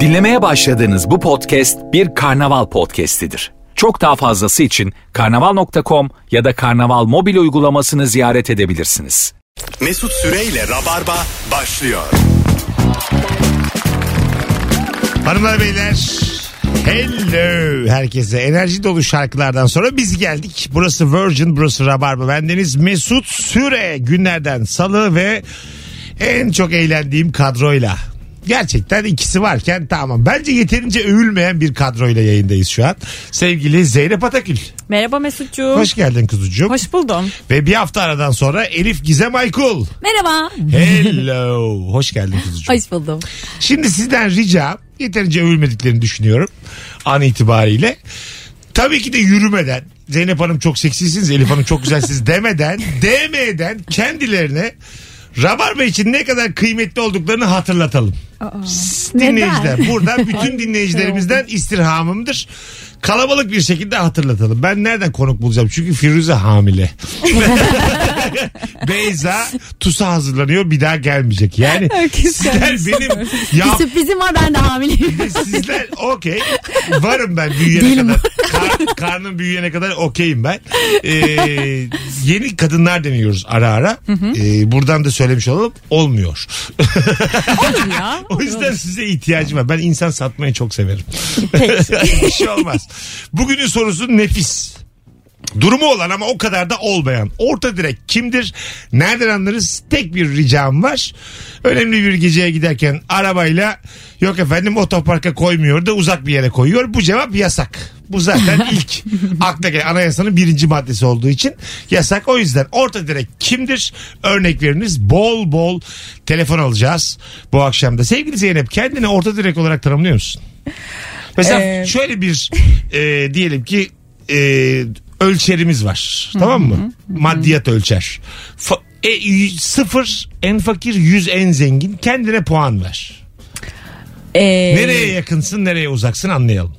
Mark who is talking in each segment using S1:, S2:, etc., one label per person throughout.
S1: Dinlemeye başladığınız bu podcast bir karnaval podcastidir. Çok daha fazlası için karnaval.com ya da karnaval mobil uygulamasını ziyaret edebilirsiniz.
S2: Mesut Süreyle Rabarba başlıyor.
S3: Hanımlar beyler Hello herkese enerji dolu şarkılardan sonra biz geldik. Burası Virgin, burası Rabarba. Bendeniz Mesut Süre günlerden salı ve en çok eğlendiğim kadroyla. Gerçekten ikisi varken tamam. Bence yeterince övülmeyen bir kadroyla yayındayız şu an. Sevgili Zeynep Atakül.
S4: Merhaba Mesutcuğum.
S3: Hoş geldin kuzucuğum.
S4: Hoş buldum.
S3: Ve bir hafta aradan sonra Elif Gizem Aykul.
S4: Merhaba.
S3: Hello. Hoş geldin kuzucuğum.
S4: Hoş buldum.
S3: Şimdi sizden rica yeterince övülmediklerini düşünüyorum an itibariyle. Tabii ki de yürümeden Zeynep Hanım çok seksisiniz, Elif Hanım çok güzelsiniz demeden, demeden kendilerine Rabarba için ne kadar kıymetli olduklarını hatırlatalım. S- Dinleyiciler
S4: neden?
S3: burada bütün dinleyicilerimizden istirhamımdır. Kalabalık bir şekilde hatırlatalım. Ben nereden konuk bulacağım? Çünkü Firuze hamile. Beyza TUS'a hazırlanıyor bir daha gelmeyecek. Yani
S4: Herkes
S3: sizler
S4: gelmiş.
S3: benim
S4: Bir
S3: yap,
S4: sürprizim var ben de hamileyim.
S3: Sizler okey. Varım ben büyüyene
S4: Değilim.
S3: kadar. Kar- karnım büyüyene kadar okeyim ben. Ee, yeni kadınlar deniyoruz ara ara. Ee, buradan da söylemiş olalım. Olmuyor.
S4: Olur ya.
S3: O yüzden size ihtiyacım var. Ben insan satmayı çok severim. Bir şey olmaz. Bugünün sorusu nefis. Durumu olan ama o kadar da olmayan. Orta direk kimdir? Nereden anlarız? Tek bir ricam var. Önemli bir geceye giderken arabayla yok efendim otoparka koymuyor da uzak bir yere koyuyor. Bu cevap yasak. Bu zaten ilk akla gelen anayasanın birinci maddesi olduğu için yasak. O yüzden orta direk kimdir? Örnek veriniz bol bol telefon alacağız bu akşam da. Sevgili Zeynep kendini orta direk olarak tanımlıyor musun? Mesela
S4: Ee,
S3: şöyle bir e, diyelim ki e, ölçerimiz var. tamam mı? Maddiyat ölçer. Fa- e, y- sıfır en fakir, yüz en zengin. Kendine puan ver.
S4: Ee,
S3: Nereye yakınsın, nereye uzaksın anlayalım.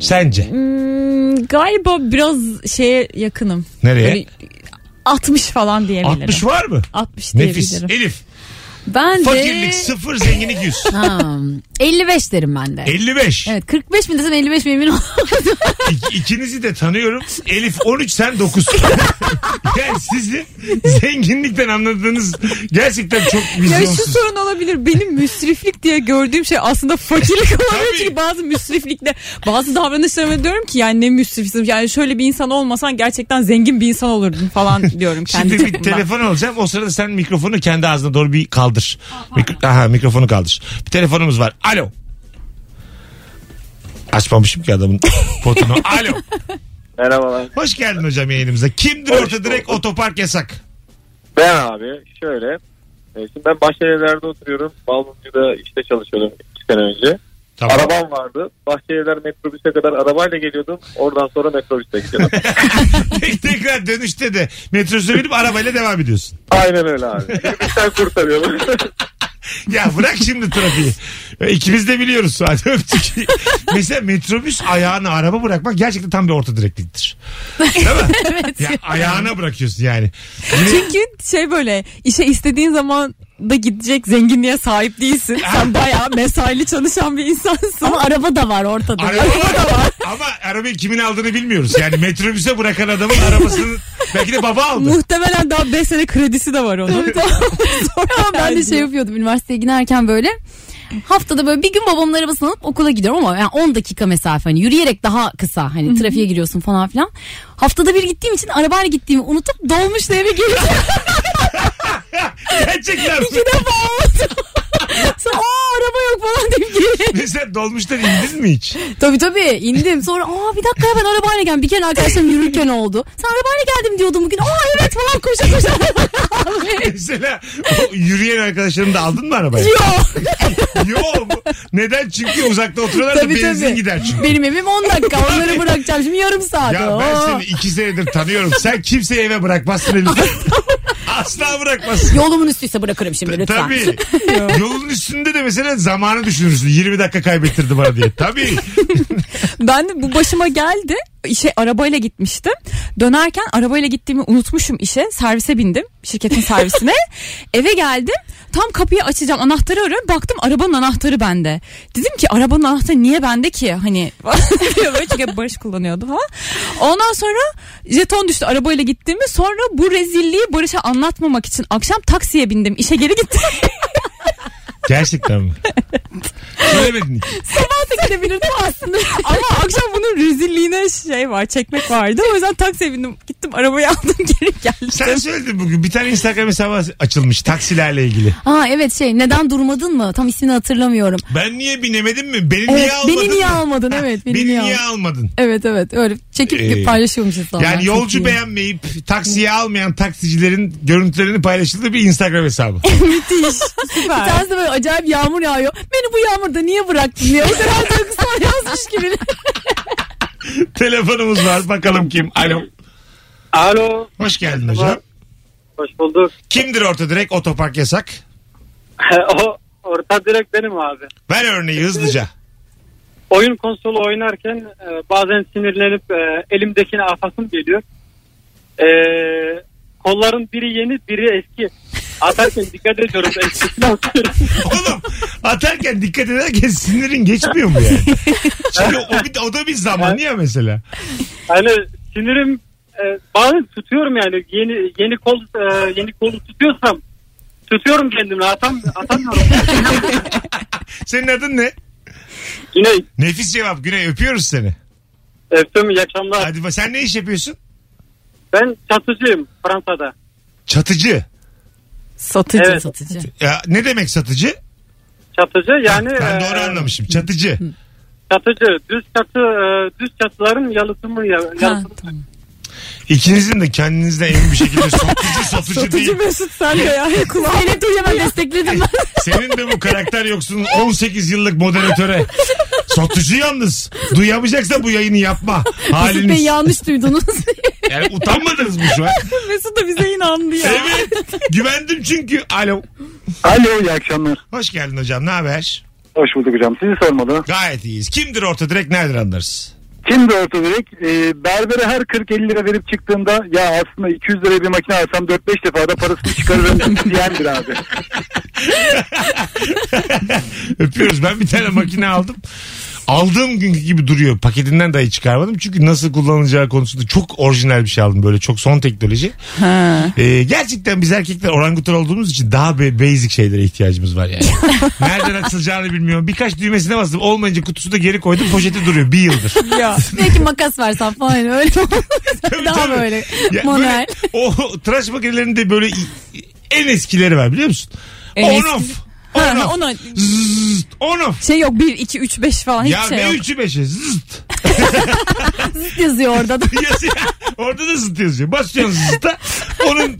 S3: Sence?
S4: hmm, Galiba biraz şeye yakınım.
S3: Nereye?
S4: Böyle 60 falan diyebilirim.
S3: 60 var mı?
S4: 60
S3: Nefis.
S4: diyebilirim.
S3: Elif.
S5: Ben de
S3: Fakirlik sıfır, zenginlik yüz.
S5: Ha, 55 derim ben de.
S3: 55.
S5: Evet 45 mi desem 55 mi emin olamadım.
S3: İk- ikinizi de tanıyorum. Elif 13 sen 9. yani sizin zenginlikten anladığınız gerçekten çok
S4: Ya şu
S3: vizyonsuz.
S4: sorun olabilir. Benim müsriflik diye gördüğüm şey aslında fakirlik olabilir.
S3: Tabii.
S4: Çünkü bazı müsriflikte bazı davranışlarıma diyorum ki yani ne müsrifsin. Yani şöyle bir insan olmasan gerçekten zengin bir insan olurdun falan diyorum kendi
S3: Şimdi bir
S4: çapımdan.
S3: telefon alacağım. O sırada sen mikrofonu kendi ağzına doğru bir kaldır. Mikro- Aha mikrofonu kaldır. Bir telefonumuz var. Alo. Açmamışım ki adamın potunu. Alo.
S6: Merhabalar.
S3: Hoş geldin hocam yayınımıza. Kimdir
S6: Hoş
S3: orta direkt
S6: bulduk.
S3: otopark yasak?
S6: Ben abi şöyle. e, Şimdi ben Bahçelievler'de oturuyorum. Balmumcu'da işte çalışıyordum iki sene önce.
S3: Tamam.
S6: Arabam vardı. Bahçelievler metrobüse kadar arabayla geliyordum. Oradan sonra metrobüse gidiyordum.
S3: Tek tekrar dönüşte de metrosuna binip arabayla devam ediyorsun.
S6: Aynen öyle abi. Minibüsten kurtarıyorum.
S3: Ya bırak şimdi trafiği. İkimiz de biliyoruz zaten öptük. Mesela metrobüs ayağına araba bırakmak gerçekten tam bir orta direkliktir. Değil mi? Ya ayağına bırakıyorsun yani.
S4: Çünkü şey böyle işe istediğin zaman da gidecek zenginliğe sahip değilsin. Sen bayağı mesaili çalışan bir insansın.
S5: Ama araba da var ortada.
S3: Araba Ama arabayı kimin aldığını bilmiyoruz. Yani metrobüse bırakan adamın arabasını belki de baba aldı.
S4: Muhtemelen daha 5 sene kredisi de var onun.
S5: Ama ben de şey yapıyordum üniversiteye giderken böyle. Haftada böyle bir gün babamın arabasını alıp okula gidiyorum ama yani 10 dakika mesafe hani yürüyerek daha kısa hani trafiğe giriyorsun falan filan. Haftada bir gittiğim için arabayla gittiğimi unutup dolmuşla eve geliyorum.
S3: Gerçekten.
S5: İki defa oldu. Sonra aa araba yok falan deyip geri.
S3: Mesela dolmuştan indin mi hiç?
S5: Tabii tabii indim sonra aa bir dakika ya ben arabayla geldim. Bir kere arkadaşlarım yürürken oldu. Sen arabayla geldim diyordum bugün. Aa evet falan koşa koşa.
S3: Mesela o yürüyen arkadaşlarını da aldın mı arabaya?
S5: Yok.
S3: Yok. Neden? Çünkü uzakta oturuyorlar da
S5: Tabii
S3: benzin
S5: tabii.
S3: gider çünkü.
S5: Benim evim 10 dakika onları bırakacağım şimdi yarım saat.
S3: Ya ben
S5: Oo.
S3: seni iki senedir tanıyorum. Sen kimseyi eve bırakmazsın Elif. Asla bırakmazsın.
S5: Yolumun üstüyse bırakırım şimdi lütfen.
S3: Tabii. Yolun üstünde de mesela zamanı düşünürsün. 20 dakika kaybettirdi bana diye. Tabii.
S4: ben de bu başıma geldi. işe arabayla gitmiştim. Dönerken arabayla gittiğimi unutmuşum işe. Servise bindim. Şirketin servisine. Eve geldim. Tam kapıyı açacağım. Anahtarı arıyorum. Baktım arabanın anahtarı bende. Dedim ki arabanın anahtarı niye bende ki? Hani diyor böyle çünkü hep Barış kullanıyordu falan. Ondan sonra jeton düştü arabayla gittiğimi. Sonra bu rezilliği Barış'a anlatmamak için akşam taksiye bindim. İşe geri gittim.
S3: Gerçekten mi? Söylemedin.
S4: Sabah da gidebilirdim aslında. Ama akşam bunun rezilliğine şey var çekmek vardı. O yüzden taksiye bindim. Gittim arabayı aldım geri geldim.
S3: Sen söyledin bugün. Bir tane Instagram hesabı açılmış taksilerle ilgili.
S5: Ha evet şey neden durmadın mı? Tam ismini hatırlamıyorum.
S3: Ben niye binemedim mi? Beni
S5: Evet,
S3: niye almadın?
S5: beni niye
S3: mı?
S5: almadın? Evet, beni, niye almadın?
S3: almadın?
S5: Evet evet öyle çekip
S3: Ee,
S5: paylaşıyormuş insanlar.
S3: Yani
S5: Çok iyi.
S3: yolcu beğenmeyip taksiye almayan taksicilerin görüntülerini paylaşıldığı bir Instagram hesabı.
S5: Bir tanesi de böyle acayip yağmur yağıyor. Beni bu yağmurda niye bıraktın diye. O kadar duygusal yazmış gibi.
S3: Telefonumuz var bakalım kim? Alo.
S6: Alo.
S3: Hoş geldin hocam.
S6: Hoş bulduk.
S3: Kimdir orta direkt otopark yasak?
S6: o orta direkt benim abi.
S3: Ver örneği hızlıca.
S6: Oyun konsolu oynarken e, bazen sinirlenip e, elimdekine afasım geliyor. E, kolların biri yeni biri eski. Atarken dikkat ediyorum. Eskisini atıyorum.
S3: Oğlum atarken dikkat ederken sinirin geçmiyor mu yani? Şimdi o, bir, o da bir zaman ya mesela.
S6: Yani sinirim e, bazen tutuyorum yani yeni yeni kol e, yeni kolu tutuyorsam tutuyorum kendimi atam atamıyorum.
S3: Senin adın ne?
S6: Yine
S3: Nefis cevap Güney öpüyoruz seni.
S6: öptüm iyi akşamlar.
S3: Hadi bak- sen ne iş yapıyorsun?
S6: Ben çatıcıyım Fransa'da.
S3: Çatıcı.
S5: Satıcı
S6: Evet.
S5: satıcı.
S3: Ya, ne demek satıcı?
S6: Çatıcı yani
S3: ben doğru
S6: e,
S3: anlamışım. Çatıcı.
S6: çatıcı düz çatı e, düz çatıların yalıtımı ya-
S5: Ha,
S6: yalıtımı.
S5: tamam.
S3: İkinizin de kendinizde emin bir şekilde satıcı satıcı, değil.
S4: Mesut sen de ya.
S5: Zeynep Duyu'ya ben destekledim ben.
S3: Senin de bu karakter yoksun 18 yıllık moderatöre. Satıcı yalnız. Duyamayacaksa bu yayını yapma.
S5: Mesut Bey
S3: Haliniz.
S5: yanlış duydunuz.
S3: Yani utanmadınız mı şu an?
S4: Mesut da bize inandı ya.
S3: Evet. Güvendim çünkü. Alo.
S7: Alo iyi akşamlar.
S3: Hoş geldin hocam. Ne haber?
S7: Hoş bulduk hocam. Sizi sormalı.
S3: Gayet iyiyiz. Kimdir orta direkt nereden anlarız?
S7: Kimdi orta direkt? Ee, berbere her 40-50 lira verip çıktığımda ya aslında 200 liraya bir makine alsam 4-5 defa da parasını çıkarırım diyendir abi.
S3: Öpüyoruz. Ben bir tane makine aldım. Aldığım günkü gibi duruyor. Paketinden dahi çıkarmadım. Çünkü nasıl kullanılacağı konusunda çok orijinal bir şey aldım. Böyle çok son teknoloji. Ee, gerçekten biz erkekler orangutan olduğumuz için daha be- basic şeylere ihtiyacımız var yani. Nereden açılacağını bilmiyorum. Birkaç düğmesine bastım. Olmayınca kutusu da geri koydum. Poşeti duruyor bir yıldır.
S4: Ya.
S5: Belki makas versen falan hani öyle olmaz.
S3: Tabii,
S5: Daha
S3: tabii.
S5: böyle
S3: Ya
S5: manuel.
S3: böyle o tıraş makinelerinde böyle i- en eskileri var biliyor musun?
S4: En
S3: on
S4: eski-
S3: off. On
S4: Ha,
S3: off.
S4: ona
S3: Zzt, on off.
S4: şey yok 1 2 3 5 falan hiç
S3: ya
S4: şey
S3: ne
S4: yok.
S3: üçü beşi zzt.
S5: yazıyor orada da.
S3: Yazıyor. Orada da zıt yazıyor. Basıyorsun zıta. Onun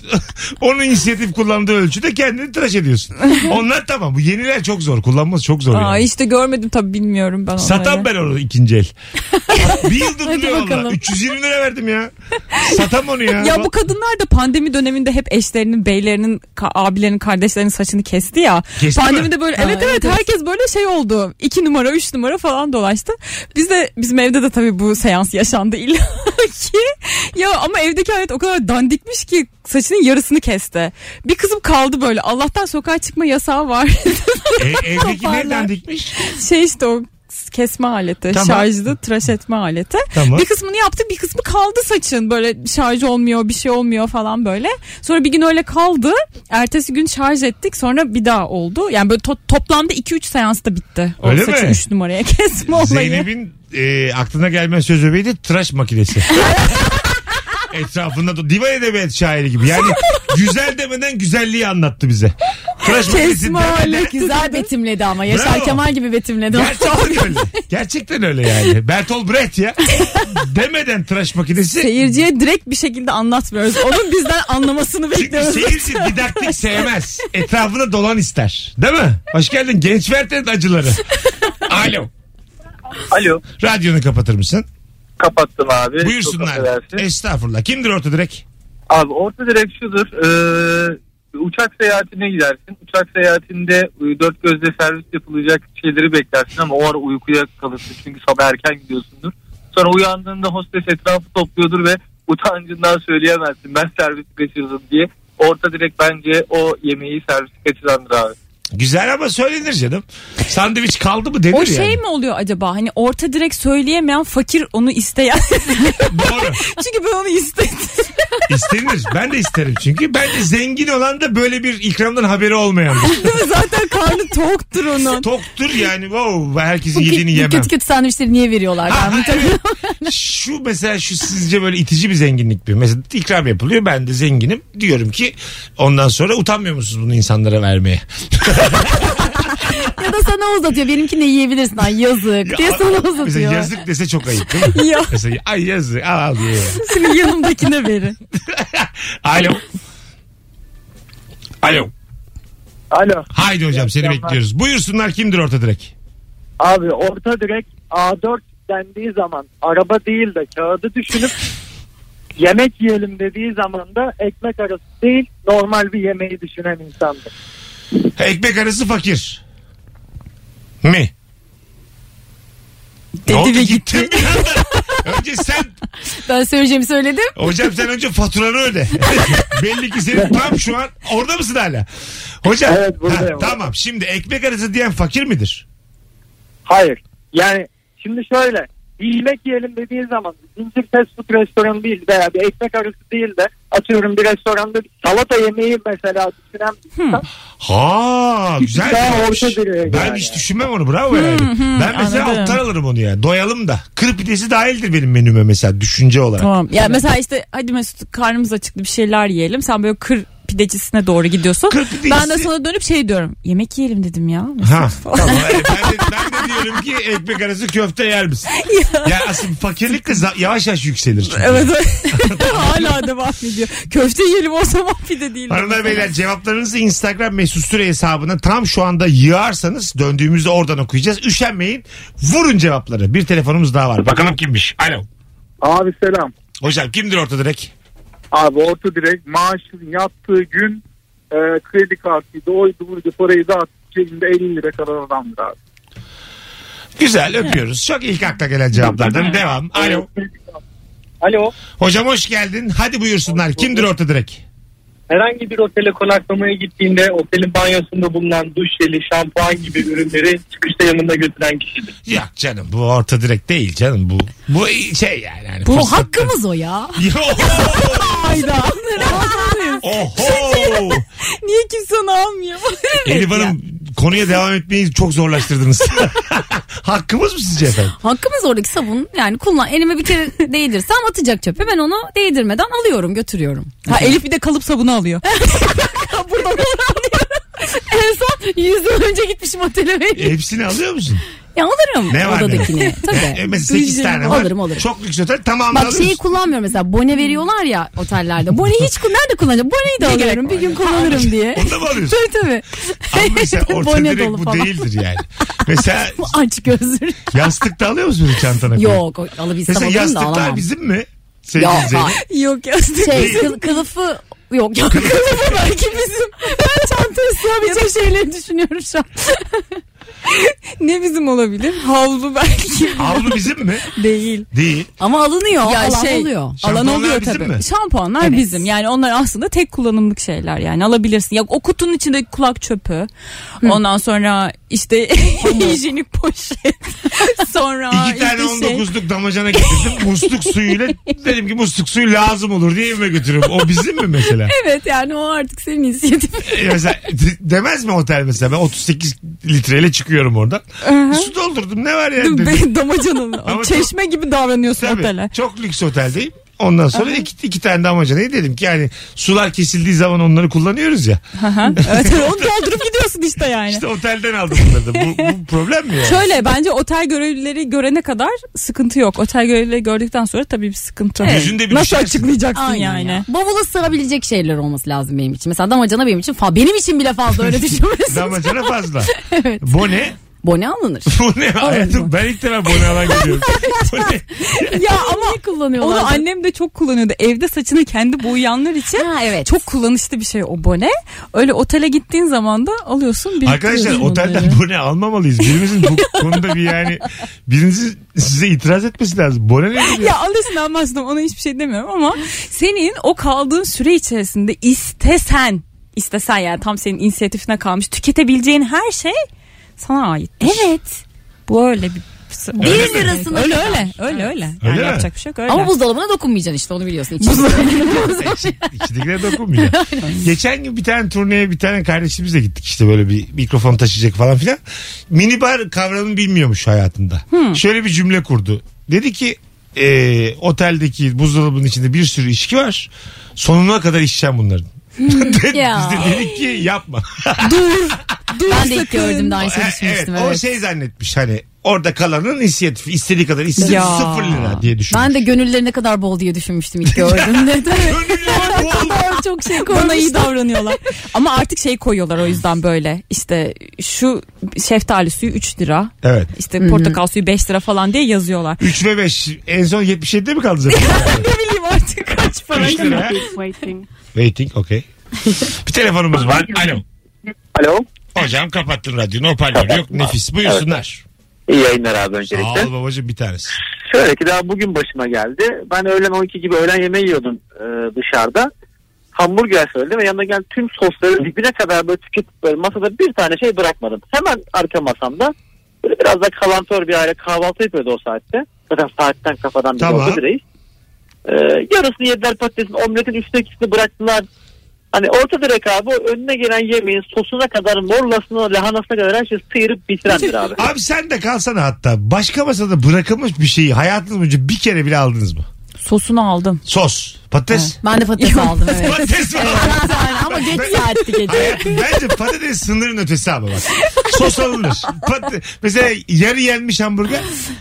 S3: onun inisiyatif kullandığı ölçüde kendini tıraş ediyorsun. Onlar tamam. Bu yeniler çok zor. Kullanması çok zor.
S4: Aa
S3: yani.
S4: işte görmedim tabii bilmiyorum ben onları.
S3: Satan ben onu ikinci el. bir yıldır
S5: Hadi
S3: duruyor valla.
S5: bakalım.
S3: 320 lira verdim ya. Satam onu ya.
S4: Ya bu kadınlar da pandemi döneminde hep eşlerinin, beylerinin, ka- abilerinin, kardeşlerinin saçını kesti ya.
S3: Kesti
S4: Pandemide böyle
S5: Ha,
S4: evet, evet
S5: evet.
S4: herkes böyle şey oldu. 2 numara, 3 numara falan dolaştı. Biz de bizim evde de tabii bu seans yaşandı illa ki. Ya ama evdeki hayat o kadar dandikmiş ki saçının yarısını kesti. Bir kızım kaldı böyle. Allah'tan sokağa çıkma yasağı var.
S3: E, evdeki
S4: Toparlar.
S3: nereden dikmiş?
S4: şey işte o kesme aleti,
S3: Tamam.
S4: şarjlı tıraş etme aleti.
S3: Tamam.
S4: Bir kısmını yaptı bir kısmı kaldı saçın böyle şarj olmuyor bir şey olmuyor falan böyle. Sonra bir gün öyle kaldı. Ertesi gün şarj ettik sonra bir daha oldu. Yani böyle to- toplamda 2-3 seansta bitti. O
S3: Öyle
S4: saçı
S3: mi?
S4: 3 numaraya kesme olayı.
S3: Zeynep'in e, aklına gelmeyen söz öbeği de tıraş makinesi. Etrafında da divan edebiyat şairi gibi. Yani güzel demeden güzelliği anlattı bize. Tıraş makinesi
S4: Kesme
S3: demeden-
S4: aleti.
S5: Güzel betimledi ama. Yaşar
S3: Bravo.
S5: Kemal gibi betimledi.
S3: Gerçekten öyle. Gerçekten öyle yani. Bertolt Brecht ya. Demeden tıraş makinesi.
S4: Seyirciye direkt bir şekilde anlatmıyoruz. Onun bizden anlamasını
S3: Çünkü
S4: bekliyoruz.
S3: seyirci didaktik sevmez. Etrafına dolan ister. Değil mi? Hoş geldin genç verten acıları. Alo.
S6: Alo
S3: Radyonu kapatır mısın?
S6: kapattım abi. Çok
S3: Buyursunlar.
S6: affedersin.
S3: Estağfurullah. Kimdir orta direkt?
S6: Abi orta direkt şudur. Ee, uçak seyahatine gidersin. Uçak seyahatinde e, dört gözle servis yapılacak şeyleri beklersin ama o ara uykuya kalırsın. Çünkü sabah erken gidiyorsundur. Sonra uyandığında hostes etrafı topluyordur ve utancından söyleyemezsin. Ben servisi kaçırdım diye. Orta direkt bence o yemeği servisi kaçırandır abi.
S3: Güzel ama söylenir canım. Sandviç kaldı mı denir
S4: O
S3: yani.
S4: şey mi oluyor acaba? Hani orta direkt söyleyemeyen fakir onu isteyen.
S3: Doğru.
S4: Çünkü ben onu istedim.
S3: İstenir. Ben de isterim çünkü. Bence zengin olan da böyle bir ikramdan haberi olmayan.
S4: Zaten karnı toktur onun.
S3: Toktur yani. Wow, herkesin
S5: Bu, kö-
S3: yediğini
S5: bu
S3: yemem.
S5: kötü kötü sandviçleri niye veriyorlar?
S3: Ha,
S5: ben?
S3: ha, evet. şu mesela şu sizce böyle itici bir zenginlik bir. Mesela ikram yapılıyor ben de zenginim. Diyorum ki ondan sonra utanmıyor musunuz bunu insanlara vermeye?
S5: ya da sana uzatıyor. Benimkini yiyebilirsin. Ay yazık diye
S3: Ya,
S5: sana
S3: Mesela
S5: uzatıyor.
S3: yazık dese çok ayıp değil mi?
S4: Ya.
S3: Mesela ay yazık al al diye.
S4: Şimdi yanımdakine verin.
S3: Alo. Alo.
S7: Alo.
S3: Haydi hocam seni
S7: akşamlar.
S3: bekliyoruz. Buyursunlar kimdir orta direk?
S7: Abi orta direkt A4 dendiği zaman araba değil de kağıdı düşünüp yemek yiyelim dediği zaman da ekmek arası değil normal bir yemeği düşünen insandır.
S3: Ekmek arası fakir. Mi? Ne
S4: Dedi
S3: oldu?
S4: ve
S3: Gittin bir anda. Önce sen
S5: Ben söyleyeceğimi söyledim.
S3: Hocam sen önce faturanı öde. Belli ki senin tam şu an orada mısın hala? Hocam.
S7: Evet, buradayım.
S3: tamam şimdi ekmek arası diyen fakir midir?
S7: Hayır. Yani şimdi şöyle bir yemek yiyelim dediği zaman zincir fast food restoranı değil veya bir ekmek arası değil de atıyorum bir restoranda bir salata yemeği mesela düşünen bir insan
S3: Ha güzel.
S7: Daha
S3: fikirmiş.
S7: orta duruyor
S3: Ben
S7: yani.
S3: hiç düşünmem onu bravo yani. ben mesela
S4: anladım.
S3: alttan alırım onu yani. Doyalım da. Kır pidesi dahildir benim menüme mesela düşünce olarak.
S4: Tamam. Ya mesela işte hadi Mesut karnımız acıktı bir şeyler yiyelim. Sen böyle kır pidecisine doğru gidiyorsun.
S3: Kır pidecisi-
S4: Ben de sana dönüp şey diyorum. Yemek yiyelim dedim ya.
S3: Ha, tamam. Evet, ben, de, ben de diyorum ki ekmek arası köfte yer misin? ya. aslında fakirlik de za- yavaş yavaş yükselir. çünkü.
S4: Evet. Hala devam ediyor. Köfte yiyelim o zaman pide değil.
S3: Hanımlar beyler cevaplarınızı Instagram mesut süre hesabına tam şu anda yığarsanız döndüğümüzde oradan okuyacağız. Üşenmeyin vurun cevapları. Bir telefonumuz daha var. Bakalım kimmiş? Alo.
S7: Abi selam.
S3: Hocam kimdir orta direk?
S7: Abi orta direkt maaşın yattığı gün e, kredi kartıydı oydu buydu parayı dağıttı cebinde 50 lira kalan adamdır abi.
S3: Güzel öpüyoruz. Çok ilk akla gelen cevaplardan devam. Alo.
S6: Alo.
S3: Hocam hoş geldin. Hadi buyursunlar. Kimdir orta direk?
S6: herhangi bir otele konaklamaya gittiğinde otelin banyosunda bulunan duş jeli, şampuan gibi ürünleri çıkışta yanında götüren kişidir.
S3: Yok canım bu orta direk değil canım bu. Bu şey yani. yani
S5: Bu
S3: fırsat-
S5: hakkımız o ya.
S3: Yo.
S4: Hayda.
S3: Oho.
S4: Niye kimse onu almıyor?
S3: Elif Hanım konuya devam etmeyi çok zorlaştırdınız. Hakkımız mı sizce efendim?
S5: Hakkımız oradaki sabun yani kullan elime bir kere değdirsem atacak çöpe ben onu değdirmeden alıyorum götürüyorum.
S4: Ha Elif bir de kalıp sabunu alıyor.
S5: Burada en son 100 yıl önce gitmişim otele benim.
S3: E, Hepsini alıyor musun?
S5: Ya alırım
S3: Ne var ne
S5: odadakini.
S3: yok?
S5: Tabii.
S3: E, mesela 8 tane var.
S5: Alırım alırım.
S3: Çok lüks otel tamamını
S5: Bak şey
S3: alıyorsun.
S5: şeyi kullanmıyorum mesela bone veriyorlar ya otellerde. Bone hiç ku- nerede kullanacağım? Boneyi de alıyorum bir gün kullanırım diye.
S3: Onu da mı alıyorsun?
S5: tabii tabii.
S3: Ama mesela orta
S5: Bone
S3: direkt
S5: dolu
S3: bu
S5: falan.
S3: değildir yani. Mesela
S5: Bu aç gözlü.
S3: yastık da alıyor musun çantana? koyup?
S5: Yok o- alabilsem
S3: Mesela
S5: alırım da
S3: yastıklar
S5: alamam.
S3: bizim mi? Sevgili
S5: Yok
S3: Zeynep.
S5: hayır.
S4: Yok yazdık.
S5: şey kıl- kılıfı yok yok kılıfı belki bizim. Ben çantaya sığabilecek şeyleri düşünüyorum şu an.
S4: Ne bizim olabilir? Havlu belki
S3: Havlu bizim mi?
S4: değil.
S3: Değil.
S5: Ama alınıyor
S4: Ya
S5: alan
S4: şey,
S5: oluyor.
S4: Alan
S3: Şampuanlar
S4: oluyor
S3: bizim
S4: tabii.
S3: mi?
S4: Şampuanlar
S5: Evet.
S4: bizim. Yani onlar aslında tek kullanımlık şeyler yani alabilirsin. Ya o kutunun içindeki kulak çöpü. Ondan sonra işte hijyenik poşet. sonra
S3: İki tane
S4: işte şey.
S3: 19'luk damacana getirdim. musluk suyuyla dedim ki musluk suyu lazım olur diye evime götürüyorum. O bizim mi mesela?
S5: Evet yani o artık senin inisiyatifin.
S3: E, mesela de- demez mi otel mesela ben 38 litreyle çıkıyorum oradan. Su doldurdum ne var yani dedim.
S4: Be- Damacanın.
S3: Ama
S4: Çeşme gibi davranıyorsun
S3: Tabii,
S4: otele.
S3: Çok lüks oteldeyim. Ondan sonra iki, iki tane damacanayı dedim ki yani sular kesildiği zaman onları kullanıyoruz ya.
S4: Aha. evet, onu doldurup gidiyorsun işte yani.
S3: İşte otelden aldım bunları da. Bu, bu problem mi yani?
S4: Şöyle bence otel görevlileri görene kadar sıkıntı yok. Otel görevlileri gördükten sonra tabii bir sıkıntı.
S3: Yüzünde bir
S4: Nasıl
S3: düşersin.
S4: açıklayacaksın
S5: Aynen
S4: yani?
S5: yani. Bavula sığabilecek şeyler olması lazım benim için. Mesela damacana benim için fa benim için bile fazla öyle düşünmesin.
S3: Damacana fazla. Bu ne?
S5: Bone alınır.
S3: Bu ne hayatım? Ben ilk defa bone alan görüyorum. Bu ne?
S5: ya ama kullanıyorlar.
S4: Onu annem de çok kullanıyordu. Evde saçını kendi boyayanlar için.
S5: Ha, evet.
S4: Çok kullanışlı bir şey o bone. Öyle otele gittiğin zaman da alıyorsun. biriktiriyorsun
S3: Arkadaşlar
S4: bunları.
S3: otelden bone almamalıyız. Birimizin bu konuda bir yani birinizin size itiraz etmesi lazım. Bone ne diyor?
S4: Ya alıyorsun almazdım ona hiçbir şey demiyorum ama senin o kaldığın süre içerisinde istesen istesen yani tam senin inisiyatifine kalmış tüketebileceğin her şey sana ait.
S5: Evet.
S4: Bu öyle bir
S5: Bir lirasına
S4: Öyle
S5: kadar.
S4: öyle öyle öyle. Yani
S3: Öyle mi?
S4: yapacak bir şey yok öyle.
S5: Ama buzdolabına dokunmayacaksın işte onu biliyorsun. Buzdolabına
S3: İçindekilere dokunmayacak. Geçen gün bir tane turneye bir tane kardeşimizle gittik işte böyle bir mikrofon taşıyacak falan filan. Minibar kavramını bilmiyormuş hayatında. Şöyle bir cümle kurdu. Dedi ki e, oteldeki buzdolabının içinde bir sürü içki var. Sonuna kadar içeceğim bunların.
S5: Ya.
S3: Biz de dedik ki yapma.
S5: ben de ilk gördüm de aynı şey
S3: E,
S5: düşünmüştüm.
S3: o
S5: Evet.
S3: şey zannetmiş hani orada kalanın inisiyatifi istediği kadar istesin
S4: Ya.
S3: sıfır lira diye düşünmüş.
S5: Ben de gönüllerine kadar bol diye düşünmüştüm ilk gördüğümde de.
S3: Gönüllü bu oğlum.
S4: çok şey Bana iyi davranıyorlar. Ama artık şey koyuyorlar o yüzden böyle. İşte şu şeftali suyu 3 lira.
S3: Evet.
S4: İşte portakal suyu 5 lira falan diye yazıyorlar.
S3: 3 ve 5 en son 77'de mi kaldı zaten?
S4: ne bileyim artık kaç para.
S3: 3 lira.
S8: Waiting.
S3: Waiting okey. Bir telefonumuz var. Alo.
S7: Alo.
S3: Hocam kapattın radyonu hoparlör yok nefis buyursunlar.
S7: İyi yayınlar abi öncelikle.
S3: Al babacım bir tanesi.
S7: Şöyle ki daha bugün başıma geldi. Ben öğlen 12 gibi öğlen yemeği yiyordum e, dışarıda. Hamburger söyledim ve yanına gelen tüm sosları dibine kadar böyle tüketip böyle masada bir tane şey bırakmadım. Hemen arka masamda böyle biraz da kalantör bir aile kahvaltı yapıyordu o saatte. Zaten saatten kafadan bir
S3: Tamam.
S7: oldu direğiz. E, yarısını yediler patatesin omletin üsttekisini bıraktılar. Hani orta direk abi o önüne gelen yemeğin sosuna kadar morlasına lahanasına kadar her şeyi sıyırıp bitirendir abi.
S3: Abi sen de kalsana hatta başka masada bırakılmış bir şeyi hayatınız boyunca bir kere bile aldınız mı?
S4: Sosunu aldım.
S3: Sos, patates.
S5: Ben de patates aldım evet.
S3: Patates mi?
S5: Ben de aynı ama geç saatti gece.
S3: Hayatım, Bence patates sınırın ötesi ama bak. Sos alınır. Pat- mesela yarı yenmiş hamburger.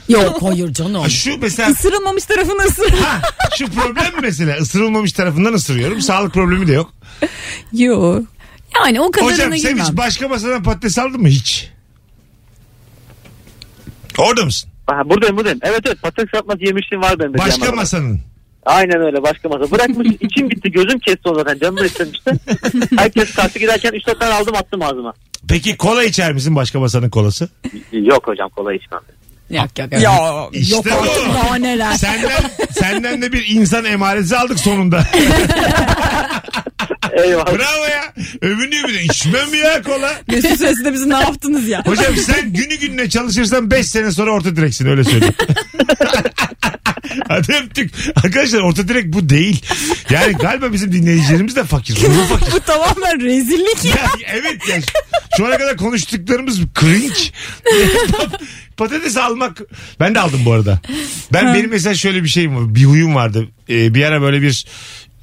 S5: Yok hayır canım.
S3: Ha, Şu mesela
S4: Isırılmamış tarafını ısır.
S3: ha, şu problem mi mesela ısırılmamış tarafından ısırıyorum. Sağlık problemi de yok.
S4: Yok.
S5: Yani o
S3: Hocam
S5: kadarına
S3: sen
S5: girmem.
S3: hiç başka masadan patates aldın mı hiç? Orada mısın?
S7: Ha, buradayım buradayım. Evet evet patates kızartması yemişliğim var benim de.
S3: Başka
S7: Cemal abi.
S3: masanın.
S7: Aynen öyle başka masa. Bırakmış içim gitti gözüm kesti o zaten canımı istemişti. Herkes kalktı giderken 3 tane aldım attım ağzıma.
S3: Peki kola içer misin başka masanın kolası?
S7: Yok hocam kola içmem.
S5: Yok yok.
S4: Ya.
S3: İşte bu.
S5: Daha neler.
S3: Senden, senden de bir insan emaresi aldık sonunda.
S7: Eyvallah.
S3: Bravo ya. Övünüyor bir de. İçmem ya kola.
S4: Mesut Söz'de bizi ne yaptınız ya?
S3: Hocam sen günü gününe çalışırsan 5 sene sonra orta direksin öyle söyleyeyim. Hadi öptük. Arkadaşlar orta direk bu değil. Yani galiba bizim dinleyicilerimiz de fakir. Ruhu fakir.
S4: Bu tamamen rezillik ya.
S3: Ya, evet ya. Şu ana kadar konuştuklarımız cringe. Patates almak. Ben de aldım bu arada. Ben benim mesela şöyle bir şeyim var. Bir huyum vardı. Ee, bir ara böyle bir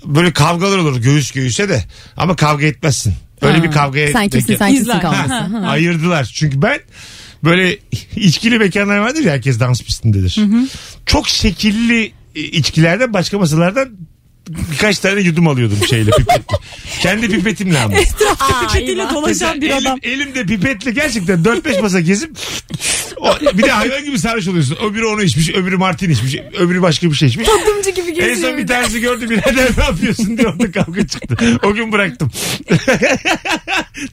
S3: böyle kavgalar olur göğüs göğüse de. Ama kavga etmezsin. Öyle bir kavgaya
S5: Sen kimsin
S3: denk-
S5: sen kimsin
S4: İzler.
S5: kalmasın.
S3: Ha, ayırdılar. Çünkü ben böyle içkili mekanlar vardır ya herkes dans pistindedir. Çok şekilli e, içkilerden başka masalardan birkaç tane yudum alıyordum şeyle pipetle. Kendi pipetimle ama.
S4: Pipetiyle dolaşan bir
S3: Mesela
S4: adam.
S3: Elim, elimde pipetle gerçekten 4-5 masa gezip o, bir de hayvan gibi sarhoş oluyorsun. Öbürü onu içmiş, öbürü martini içmiş, öbürü başka bir şey içmiş.
S5: Yardımcı gibi
S3: En son bir tanesi gördü birader ne yapıyorsun diye orada kavga çıktı. O gün bıraktım.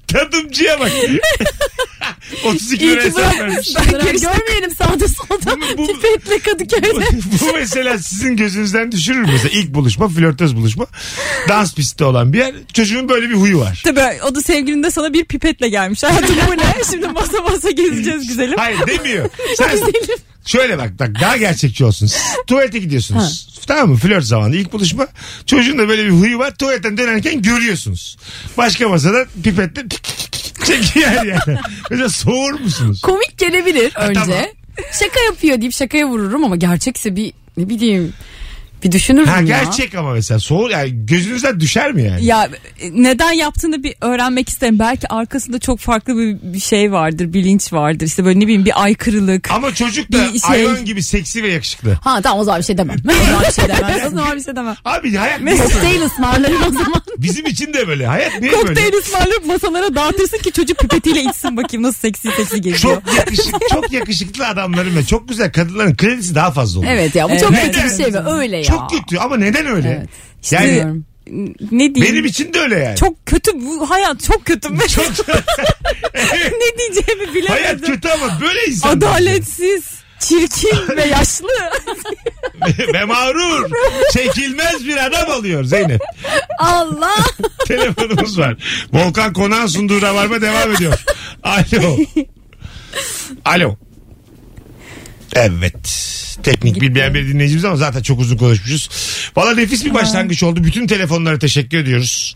S3: Tadımcıya bak. 32
S5: İyi
S3: lira
S5: ki
S3: hesap vermiş.
S5: bırakmışsın. Görmeyelim sağda solda.
S3: Bu- bu-
S5: Pipetle Kadıköy'de.
S3: bu mesela sizin gözünüzden düşürür mesela ilk buluşma flörtöz buluşma dans pisti olan bir yer çocuğun böyle bir huyu var.
S4: Tabii o da sevgilin de sana bir pipetle gelmiş. Hayatım bu ne? Şimdi masa masa gezeceğiz güzelim.
S3: Hayır demiyor. Sen şöyle bak, bak daha gerçekçi olsun. Siz tuvalete gidiyorsunuz. Tamam mı? Flört zamanı ilk buluşma. Çocuğun da böyle bir huyu var. Tuvaletten dönerken görüyorsunuz. Başka masada pipetle çekiyor yani. Mesela soğur musunuz?
S5: Komik gelebilir önce.
S3: tamam.
S5: Şaka yapıyor deyip şakaya vururum ama gerçekse bir ne bileyim Bir düşünürüm
S3: Ha
S5: ya.
S3: gerçek ama mesela soğur yani gözünüzden düşer mi yani?
S4: Ya e, neden yaptığını bir öğrenmek isterim. Belki arkasında çok farklı bir, bir şey vardır, bilinç vardır. İşte böyle ne bileyim bir aykırılık.
S3: Ama çocuk da
S4: Bir şey-
S3: hayvan gibi seksi ve yakışıklı.
S5: Ha tamam o zaman bir şey demem. O zaman bir şey demem.
S4: O zaman bir şey demem.
S3: Abi hayat niye böyle?
S5: Kokteyl ısmarlarım o zaman.
S3: Bizim için de böyle. Hayat niye böyle?
S4: Kokteyl ısmarlayıp masalara dağıtırsın ki çocuk pipetiyle içsin bakayım nasıl seksi seksi geliyor.
S3: Çok yakışık, çok yakışıklı adamların ve çok güzel kadınların kredisi daha fazla olur.
S5: Evet ya bu çok
S4: Evet.
S5: kötü bir şey ve öyle ya.
S3: Çok kötü ama neden öyle?
S5: Evet.
S3: Yani
S5: Bilmiyorum.
S4: ne diyeyim?
S3: benim için de öyle yani.
S4: Çok kötü bu hayat çok kötü.
S3: Çok-
S4: ne diyeceğimi bilemedim.
S3: hayat kötü ama böyle insan.
S4: Adaletsiz, çirkin ve yaşlı.
S3: ve mağrur. Çekilmez bir adam alıyor Zeynep.
S5: Allah.
S3: Telefonumuz var. Volkan Konak'ın sunduğu rabarba devam ediyor. Alo. Alo. Evet. Teknik bilmeyen bir dinleyicimiz ama zaten çok uzun konuşmuşuz. Valla nefis bir başlangıç oldu. Bütün telefonlara teşekkür ediyoruz.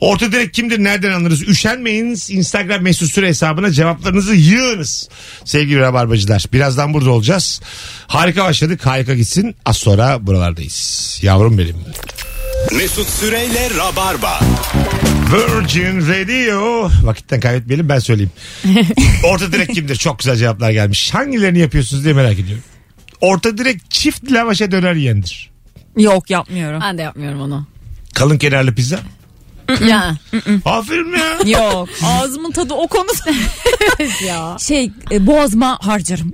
S3: Orta direkt kimdir nereden anlarız? Üşenmeyiniz. Instagram mesut süre hesabına cevaplarınızı yığınız. Sevgili rabarbacılar. Birazdan burada olacağız. Harika başladık. Harika gitsin. Az sonra buralardayız. Yavrum benim.
S2: Mesut Süreyle Rabarba.
S3: Virgin Radio. Vakitten kaybetmeyelim ben söyleyeyim. Orta direk kimdir? Çok güzel cevaplar gelmiş. Hangilerini yapıyorsunuz diye merak ediyorum. Orta direk çift lavaşa döner yendir.
S4: Yok yapmıyorum.
S5: Ben de yapmıyorum onu.
S3: Kalın kenarlı pizza.
S5: ya.
S3: Aferin ya.
S4: Yok. Ağzımın tadı o konuda.
S5: ya.
S4: Şey e, boğazıma harcarım.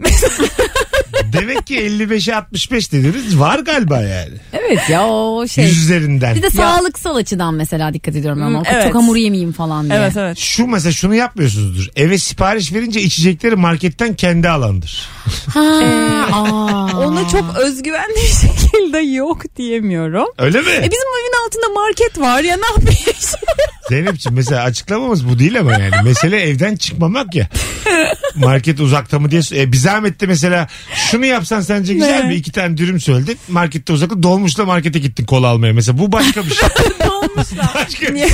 S3: Demek ki 55'e 65 dediniz. Var galiba yani.
S5: Evet ya o şey.
S3: Yüz üzerinden.
S5: Bir de sağlıksal açıdan mesela dikkat ediyorum ama
S4: Hmm, evet.
S5: çok hamur yemeyeyim falan diye.
S4: evet evet.
S3: Şu mesela şunu yapmıyorsunuzdur. Eve sipariş verince içecekleri marketten kendi alandır.
S5: Ha,
S4: Ee,
S5: aa.
S4: Ona çok özgüvenli bir şekilde yok diyemiyorum.
S3: Öyle mi?
S4: E bizim evin altında market var ya ne yapayım?
S3: Zeynep'ciğim mesela açıklamamız bu değil ama yani. Mesele evden çıkmamak ya. Market uzakta mı diye. E, bir zahmet de mesela şunu yapsan sence güzel
S4: Ne?
S3: mi? İki tane dürüm söyledin. Markette uzakta dolmuşla markete gittin kola almaya. Mesela bu başka bir şey. başka bir şey.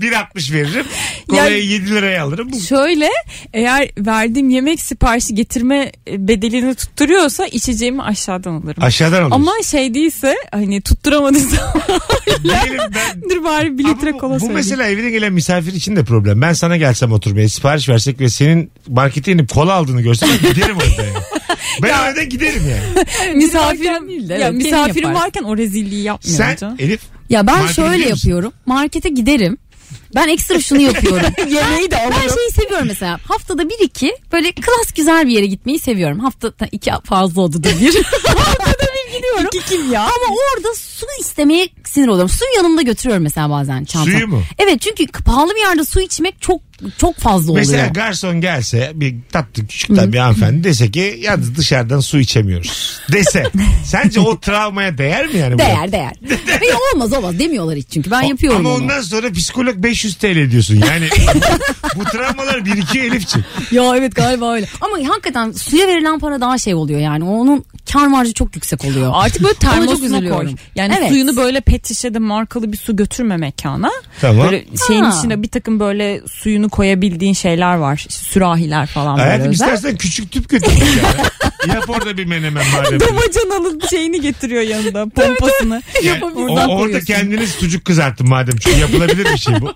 S3: 1.60 veririm. Kolayı
S4: Yani-
S3: 7 liraya alırım. Bu
S4: Şöyle eğer verdiğim yemek siparişi getirme e, bedelini tutturuyorsa içeceğimi aşağıdan alırım.
S3: aşağıdan alırım.
S4: Ama şey değilse hani tutturamadıysa
S3: Diyelim ben
S4: dur bari bir
S3: Ama
S4: litre
S3: bu-
S4: kola
S3: bu,
S4: söyleyeyim.
S3: mesela evine gelen misafir için de problem. Ben sana gelsem oturmaya sipariş versek ve senin markete inip kola aldığını görsem ben giderim orada yani. Ben orada giderim yani.
S4: misafirim,
S5: değil de,
S4: ya,
S5: evet, kendin
S4: misafirim
S5: yaparsın.
S4: varken o rezilliği yapmıyorum
S3: Sen
S4: canım.
S3: Elif
S5: Ya ben
S3: Markete
S5: şöyle
S3: gidiyor musun?
S5: yapıyorum. Markete giderim. Ben ekstra şunu yapıyorum. Yemeği de Ben şeyi seviyorum mesela. Haftada bir iki böyle klas güzel bir yere gitmeyi seviyorum. Haftada iki fazla oldu da bir. Haftada bir gidiyorum.
S4: İki kim ya?
S5: Ama orada su istemeye sinir oluyorum. Suyu yanımda götürüyorum mesela bazen çantam.
S3: Suyu mu?
S5: Evet çünkü pahalı bir yerde su içmek çok çok fazla oluyor.
S3: Mesela garson gelse bir tatlı küçük tabii bir hanımefendi dese ki yalnız dışarıdan su içemiyoruz dese. sence o travmaya değer mi yani? bu?
S5: Değer değer. Hayır olmaz olmaz demiyorlar hiç çünkü ben
S3: O-
S5: yapıyorum
S3: Ama
S5: onu.
S3: ondan sonra psikolog 500 TL diyorsun. Yani bu, bu travmalar birikiyor Elif'ciğim.
S5: Ya evet galiba öyle. Ama hakikaten suya verilen para daha şey oluyor yani. Onun kar marjı çok yüksek oluyor.
S4: Artık böyle
S5: Ona çok
S4: termosuna koy.
S5: üzülüyorum.
S4: Yani
S5: Evet.
S4: suyunu böyle pet şişede markalı bir su götürme mekana.
S3: Tamam.
S4: Böyle şeyin
S5: Ha.
S4: içine bir takım böyle suyunu koyabildiğin şeyler var. İşte sürahiler falan böyle
S3: Hayatım
S4: özel.
S3: istersen küçük tüp götür. Yani. Yap orada bir menemen madem.
S4: Damacanalı şeyini getiriyor yanında pompasını.
S3: Yani o- orada kendiniz sucuk kızarttın madem. Çünkü yapılabilir bir şey bu.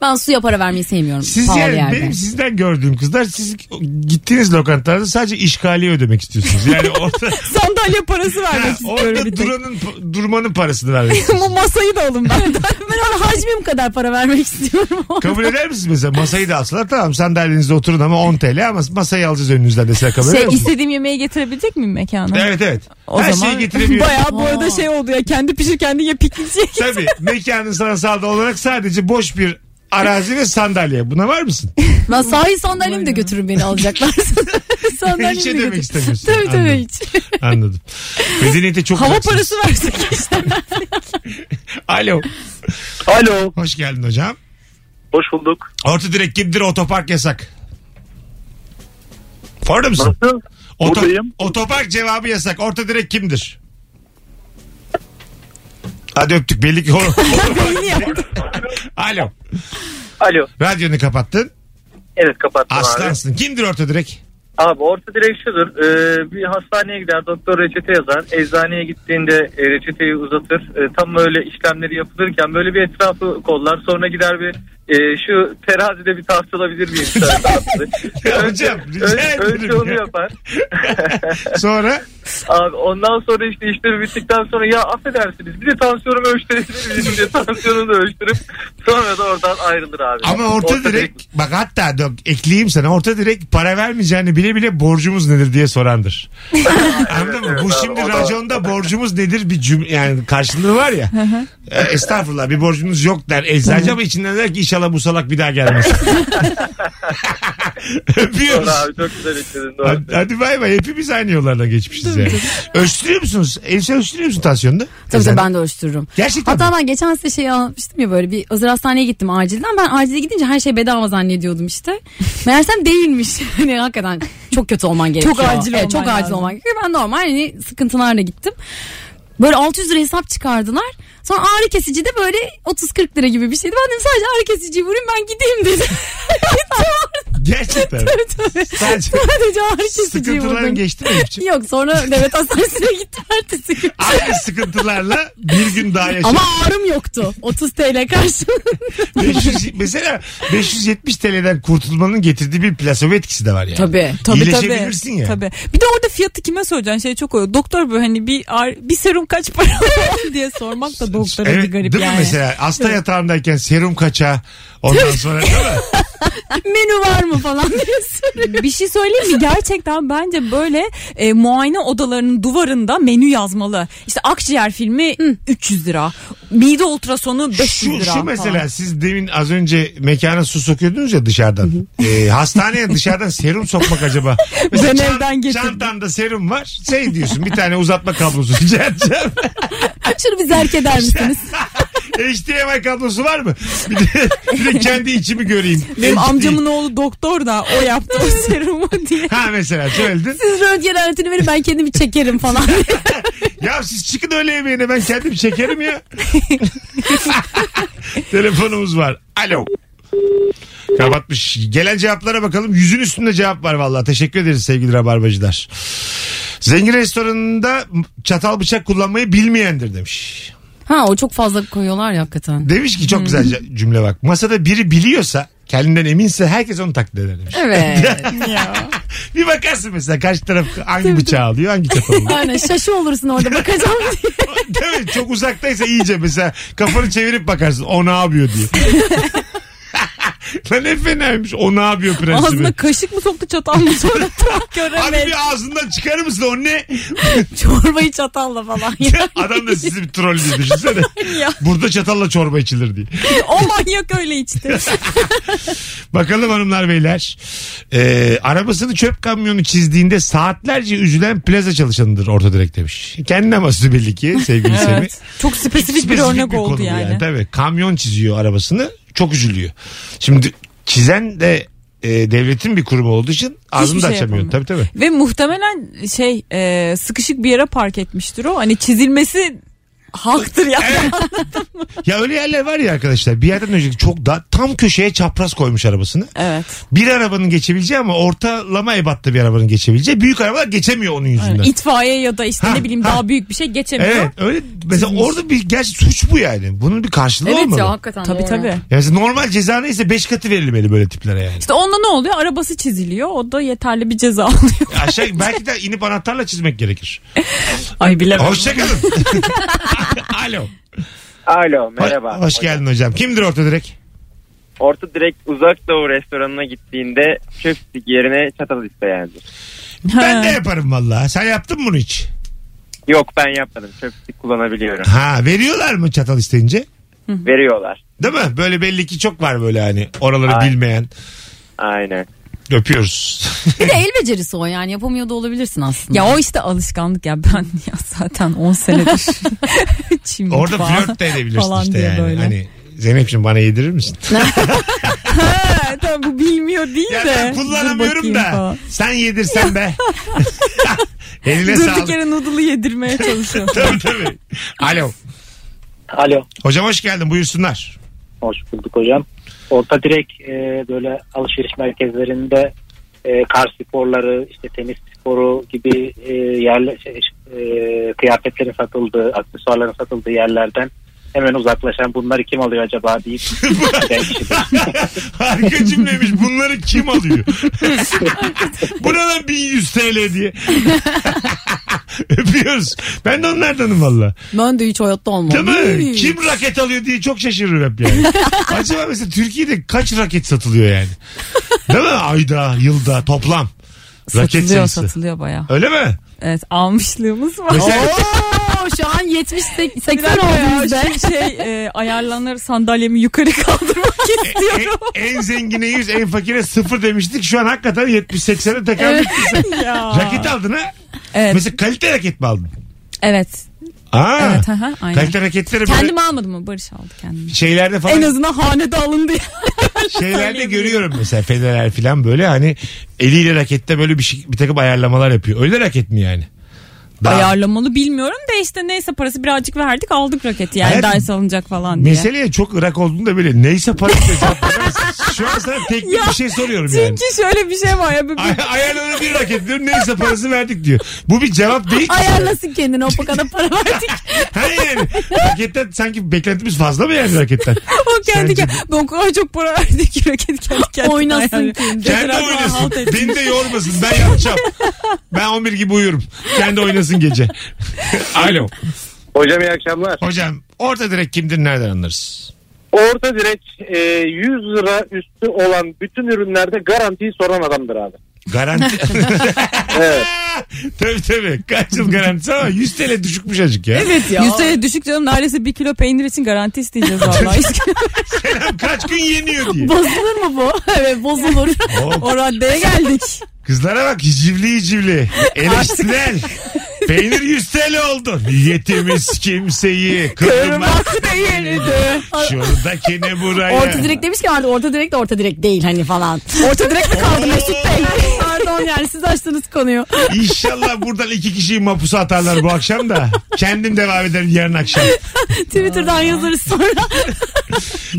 S5: Ben suya para vermeyi sevmiyorum.
S3: Siz
S5: pahalı
S3: yani
S5: yerde.
S3: benim sizden gördüğüm kızlar siz gittiğiniz lokantalarda sadece işgaliye ödemek istiyorsunuz. Yani orada
S4: Sandalye parası
S3: Ha,
S4: vermek istiyorum
S3: orada
S4: bir tek.
S3: duranın durmanın parasını vermek.
S4: Bu masayı da alın ben.
S5: Ben ona hacmim kadar para vermek istiyorum.
S3: kabul eder misiniz mesela masayı da alsalar tamam sandalyenizde oturun ama 10 TL ama masayı alacağız önünüzden deseler kabul eder
S4: şey,
S3: misiniz?
S4: istediğim yemeği getirebilecek miyim mekana?
S3: Evet evet.
S4: O
S3: Her
S4: zaman
S3: şeyi getirebiliyor.
S4: bayağı bu arada
S5: Aa.
S4: şey oldu ya şey- kendi pişir kendi ye pikniğe.
S3: Tabii mekanın sanatsal olarak sadece boş bir arazi ve sandalye. Buna var mısın?
S5: Ben sahil sandalyemi de götürün beni alacaklar. sandalyemi
S3: Hiç
S5: de
S3: şey demek
S5: götürün.
S3: istemiyorsun.
S5: Tabii tabii
S3: Anladım.
S5: hiç.
S3: Anladım. Medeniyete çok
S4: Hava
S3: uzaksınız.
S4: parası versek işte.
S3: Alo.
S6: Alo.
S3: Hoş geldin hocam.
S6: Hoş bulduk.
S3: Orta direkt kimdir otopark yasak. Orada mısın?
S6: Nasıl?
S3: Oto-
S6: Buradayım.
S3: otopark cevabı yasak. Orta direkt kimdir? Hadi öptük. Belli ki o- Alo.
S6: Alo.
S3: Radyonu kapattın.
S6: Evet kapattım abi.
S3: Aslansın. Kimdir orta direkt?
S6: Abi orta direği şudur. Ee, bir hastaneye gider doktor reçete yazar. Eczaneye gittiğinde e, reçeteyi uzatır. E, tam öyle işlemleri yapılırken böyle bir etrafı kollar. Sonra gider bir e, şu terazide bir tartılabilir miyim? şöyle tartılı.
S3: Ya hocam, rica
S6: önce,
S3: ederim
S6: önce onu
S3: ya.
S6: yapar.
S3: Sonra
S6: Abi ondan sonra işte işleri bittikten sonra ya affedersiniz bir de tansiyonumu ölçtürebilir miyim diye tansiyonumu da ölçtürüp sonra da oradan ayrılır abi.
S3: ama orta, direk, bak hatta dök, ekleyeyim sana orta direk para vermeyeceğini bile bile borcumuz nedir diye sorandır. Anladın mı?
S6: evet
S3: Bu
S6: abi,
S3: şimdi
S6: o da-
S3: raconda borcumuz nedir bir cümle yani karşılığı var ya. E, estağfurullah bir borcumuz yok der eczacı ama içinden der ki inşallah bu salak bir daha gelmez. Öpüyoruz.
S6: Doğru abi çok güzel ekledin doğru.
S3: Hadi, hadi bay bay. Hepimiz aynı yollardan geçmişiz yani. Ölçtürüyor musunuz? Elbise ölçtürüyor musun tansiyonunu?
S5: Tabii
S3: Sen-
S5: tabii ben de ölçtürürüm.
S3: Gerçekten
S5: Hatta
S3: mi?
S5: ben geçen size şey almıştım ya böyle bir özel hastaneye gittim acilden. Ben acile gidince her şey bedava zannediyordum işte. Meğersem değilmiş. Hani hakikaten çok kötü olman gerekiyor.
S4: acil
S5: Evet,
S4: olman
S5: Çok acil
S4: lazım.
S5: olman gerekiyor. Ben normal hani sıkıntılarla gittim. Böyle 600 lira hesap çıkardılar. Sonra ağrı kesici de böyle 30-40 lira gibi bir şeydi. Ben dedim sadece ağrı kesiciyi vurayım ben gideyim dedim.
S3: Gerçekten. Sadece
S5: sadece ağrı kesiciyi
S3: sıkıntıların
S5: vurdum.
S3: geçti mi Elif'ciğim?
S5: Yok sonra devlet hastanesine gittim ertesi gün.
S3: Aynı sıkıntılarla bir gün daha yaşa.
S5: Ama ağrım yoktu. 30 TL karşılığında.
S3: 500 mesela 570 TL'den kurtulmanın getirdiği bir plasebo etkisi de var yani.
S5: Tabii.
S4: Tabii tabii.
S3: İyileşebilirsin ya.
S4: Tabii. Bir de orada fiyatı kime soracaksın şey çok oluyor. Doktor böyle hani bir ağır- bir serum kaç para diye sormak da doktora
S3: Evet,
S4: bir garip
S3: değil mi
S4: yani.
S3: mesela hasta yatağındayken serum kaça ondan sonra değil mi?
S5: Menü var mı falan diye
S4: bir şey söyleyeyim mi? Gerçekten bence böyle e, muayene odalarının duvarında menü yazmalı. İşte akciğer filmi 300 lira. Mide ultrasonu 500
S3: Şu,
S4: lira.
S3: şu
S4: falan.
S3: mesela siz demin az önce mekana su sokuyordunuz ya dışarıdan. Ee, hastaneye dışarıdan serum sokmak acaba? Mesela
S4: Ben evden getirdim.
S3: Çantanda serum var. Şey diyorsun bir tane uzatma kablosu rica edeceğim.
S5: Şunu bir zerk eder misiniz?
S3: HDMI kablosu var mı? Bir de, bir de kendi içimi göreyim.
S4: Benim amcamın oğlu doktor da o yaptı o serumu diye.
S3: Ha mesela söyledin.
S5: Siz röntgen aletini verin ben kendimi çekerim falan.
S3: Ya siz çıkın öyle yemeğine ben kendim çekerim ya. Telefonumuz var. Alo. Kapatmış. Gelen cevaplara bakalım. Yüzün üstünde cevap var vallahi. Teşekkür ederiz sevgili rabarbacılar. Zengin restoranında çatal bıçak kullanmayı bilmeyendir demiş.
S5: ha o çok fazla koyuyorlar ya hakikaten.
S3: Demiş ki çok güzel ce- cümle bak. Masada biri biliyorsa kendinden eminse herkes onu taklit eder demiş.
S5: Evet.
S3: Bir bakarsın mesela karşı taraf hangi bıçağı alıyor hangi çatalı alıyor.
S5: Aynen şaşı olursun orada bakacağım diye.
S3: Değil mi? Çok uzaktaysa iyice mesela kafanı çevirip bakarsın o ne yapıyor diye. Lan ne fenaymış o ne yapıyor prensibi.
S4: Ağzına kaşık mı soktu çatal mı sonra tam
S3: Abi
S4: göremedim.
S3: bir ağzından çıkarır mısın o ne?
S5: Çorbayı çatalla falan. Ya.
S3: Adam da sizi bir troll diye düşünsene. Burada çatalla çorba içilir diye.
S4: o manyak öyle içti.
S3: Bakalım hanımlar beyler. Ee, arabasını çöp kamyonu çizdiğinde saatlerce üzülen plaza çalışanıdır orta direkt demiş. Kendine masası belli ki sevgili Semih.
S4: evet. Çok spesifik bir
S3: Spesifik
S4: örnek
S3: konu
S4: oldu
S3: bu
S4: yani.
S3: Tabii kamyon çiziyor arabasını çok üzülüyor. Şimdi çizen de e, devletin bir kurumu olduğu için ağzını da
S4: şey
S3: açamıyor. Tabii
S4: yapamıyor.
S3: tabii.
S4: Ve muhtemelen şey e, sıkışık bir yere park etmiştir o. Hani çizilmesi haktır yani.
S3: Ya öyle yerler var ya arkadaşlar bir yerden önce çok da tam köşeye çapraz koymuş arabasını.
S4: Evet.
S3: Bir arabanın geçebileceği ama ortalama ebatta bir arabanın geçebileceği. Büyük arabalar geçemiyor onun yüzünden.
S4: İtfaiye ya da işte
S3: Ha,
S4: ne bileyim
S3: ha.
S4: daha büyük bir şey geçemiyor.
S3: Evet öyle mesela orada bir gerçi suç bu yani. Bunun bir karşılığı olmalı. Ya.
S5: hakikaten
S4: Tabii tabii.
S3: mesela normal ceza neyse 5 katı verilmeli böyle tiplere yani.
S4: İşte onda ne oluyor? Arabası çiziliyor. O da yeterli bir ceza alıyor.
S3: Aşağı belki de inip anahtarla çizmek gerekir.
S4: Ay bilemem.
S3: Hoşçakalın. Alo.
S8: Alo
S3: Ho-
S8: merhaba.
S3: Hoş geldin hocam. Kimdir orta direk?
S8: Orta direkt uzak doğu restoranına gittiğinde çöp stik yerine çatal isteyendir.
S3: Ben de yaparım valla. Sen yaptın mı bunu hiç?
S8: Yok ben yapmadım çöp stik kullanabiliyorum.
S3: Ha veriyorlar mı çatal isteyince?
S8: Veriyorlar.
S3: Değil mi? Böyle belli ki çok var böyle hani oraları
S8: Aynen.
S3: bilmeyen.
S8: Aynen.
S3: Öpüyoruz.
S5: Bir de el becerisi o yani yapamıyor da olabilirsin aslında.
S4: Ya o işte alışkanlık ya ben ya zaten 10 senedir çimdik
S3: Orada
S4: falan.
S3: flört de edebilirsin
S4: Falan
S3: işte
S4: diye
S3: yani.
S4: böyle.
S3: Hani Zeynep'ciğim bana yedirir misin?
S4: Ha, tamam, bu bilmiyor değil
S3: ya
S4: de.
S3: ben
S4: Dur
S3: kullanamıyorum
S4: bakayım
S3: da.
S4: falan.
S3: Sen yedirsen be. Eline
S4: Durduk
S3: sağlık.
S4: yere noodle'ı yedirmeye çalışıyor.
S3: Tabii tabii. Alo.
S7: Alo.
S3: Hocam hoş geldin buyursunlar.
S7: Hoş bulduk hocam. Orta direkt e, böyle alışveriş merkezlerinde e, kar sporları, işte tenis sporu gibi e, yerle şey, e, kıyafetlerin satıldığı, aksesuarların satıldığı yerlerden hemen uzaklaşan bunları kim alıyor acaba deyip şey, giden kişidir.
S3: Harika cümlemiş. Bunları kim alıyor? Bu ne lan 1100 TL diye. Öpüyoruz. Ben de onlardanım valla.
S5: Ben de hiç hayatta olmam.
S3: Değil mi?
S5: Değil.
S3: Kim raket alıyor diye çok şaşırırım hep yani. Acaba mesela Türkiye'de kaç raket satılıyor yani? Değil mi? Ayda, yılda toplam. Raket
S4: satılıyor
S3: sayısı.
S4: satılıyor baya.
S3: Öyle mi?
S4: Evet almışlığımız var.
S3: Mesela-
S5: Oo, şu an 70
S4: Bir
S5: 80
S4: dakika ya,
S5: oldu bizde.
S4: şu şey e, ayarlanır sandalyemi yukarı kaldırmak istiyorum.
S3: En, e, en zengine 100, en fakire 0 demiştik. Şu an hakikaten 70-80'e tekamül ettik.
S4: ya.
S3: Raket aldın ha?
S4: Evet.
S3: Mesela kalite raket mi aldın?
S4: Evet.
S3: Aa,
S4: Evet, aha, aynen.
S3: Kalite raketleri böyle
S4: Kendim almadım mı? Barış aldı kendimi.
S3: şeylerde falan
S4: En azından hanede alındı.
S3: şeylerde
S4: söyleyeyim.
S3: görüyorum mesela Federer falan böyle hani eliyle rakette böyle bir, şey, bir takım ayarlamalar yapıyor. Öyle raket mi yani? Daha-
S4: Ayarlamalı bilmiyorum da işte neyse parası birazcık verdik aldık raketi yani
S3: Hayat-
S4: ders alınacak falan diye.
S3: Meseleye çok ırak olduğunu da böyle neyse para cevap veremezsin. Şu an sana teknik
S4: Ya,
S3: bir şey soruyorum yani.
S4: Çünkü şöyle bir şey var ya. bir-
S3: Ay- Ayarlanan bir raket diyor neyse parası verdik diyor. Bu bir cevap değil. ki.
S5: Ayarlasın kendini o kadar para verdik.
S3: Ha yani raketten sanki beklentimiz fazla mı yani raketten?
S4: o kendi
S3: Sence-
S4: kendi. Ben o kadar çok para verdi ki raket kendi kendine.
S5: Oynasın
S4: ayarlıyor.
S5: kendi.
S3: Kendi
S4: Biraz daha
S3: oynasın.
S4: halt etsin.
S3: Beni de yormasın. Ben yapacağım. Ben 11 gibi uyurum. Kendi oynasın gece. Alo.
S6: Hocam iyi akşamlar.
S3: Hocam orta direk kimdir nereden anlarız?
S6: Orta direk
S7: e,
S6: 100 lira üstü olan bütün ürünlerde garantiyi soran adamdır abi.
S3: Garanti.
S6: Evet.
S3: tabii tabii. Kaç yıl garantisi ama 100 TL düşükmüş acık ya.
S4: Evet ya. Yüzde düşük canım neredeyse bir kilo peynir için garanti isteyeceğiz vallahi.
S3: Kaç gün yeniyor diye.
S5: Bozulur mu bu? Evet bozulur.
S3: Oo,
S4: o raddeye geldik.
S3: kızlara bak hicivli hicivli. Eleştirel. Peynir 100 TL oldu. Niyetimiz kimseyi kırmak.
S5: değildi.
S3: Şuradakini buraya.
S5: Orta direkt demiş ki artık orta direkt de orta direkt değil hani falan.
S4: Orta direkt mi
S3: kaldı Mesut Bey?
S5: Pardon yani siz açtınız konuyu.
S3: İnşallah buradan iki kişiyi mapusa atarlar bu akşam da. Kendim devam ederim yarın akşam.
S5: Twitter'dan yazarız sonra.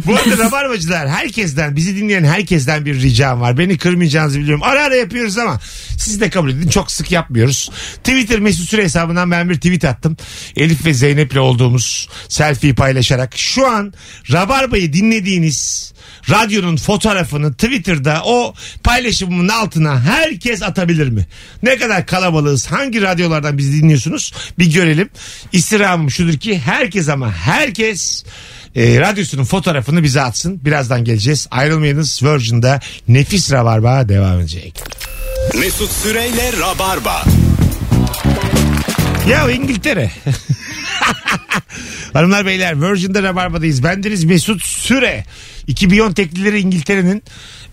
S3: Bu arada Rabarbacılar herkesten bizi dinleyen herkesten bir ricam var. Beni kırmayacağınızı biliyorum. Ara ara yapıyoruz ama siz de kabul edin. Çok sık yapmıyoruz. Twitter mesut süre hesabından ben bir tweet attım. Elif ve Zeynep'le olduğumuz selfie paylaşarak. Şu an Rabarba'yı dinlediğiniz radyonun fotoğrafını Twitter'da o paylaşımımın altına herkes atabilir mi? Ne kadar kalabalığız? Hangi radyolardan bizi dinliyorsunuz? Bir görelim. İstirhamım şudur ki herkes ama herkes e, radyosunun fotoğrafını bize atsın. Birazdan geleceğiz. Ayrılmayınız. Virgin'da nefis rabarba devam edecek.
S2: Mesut Süreyle Rabarba.
S3: Ya İngiltere. Hanımlar beyler Virgin'de Rabarba'dayız. Bendeniz Mesut Süre. İki biyon teklileri İngiltere'nin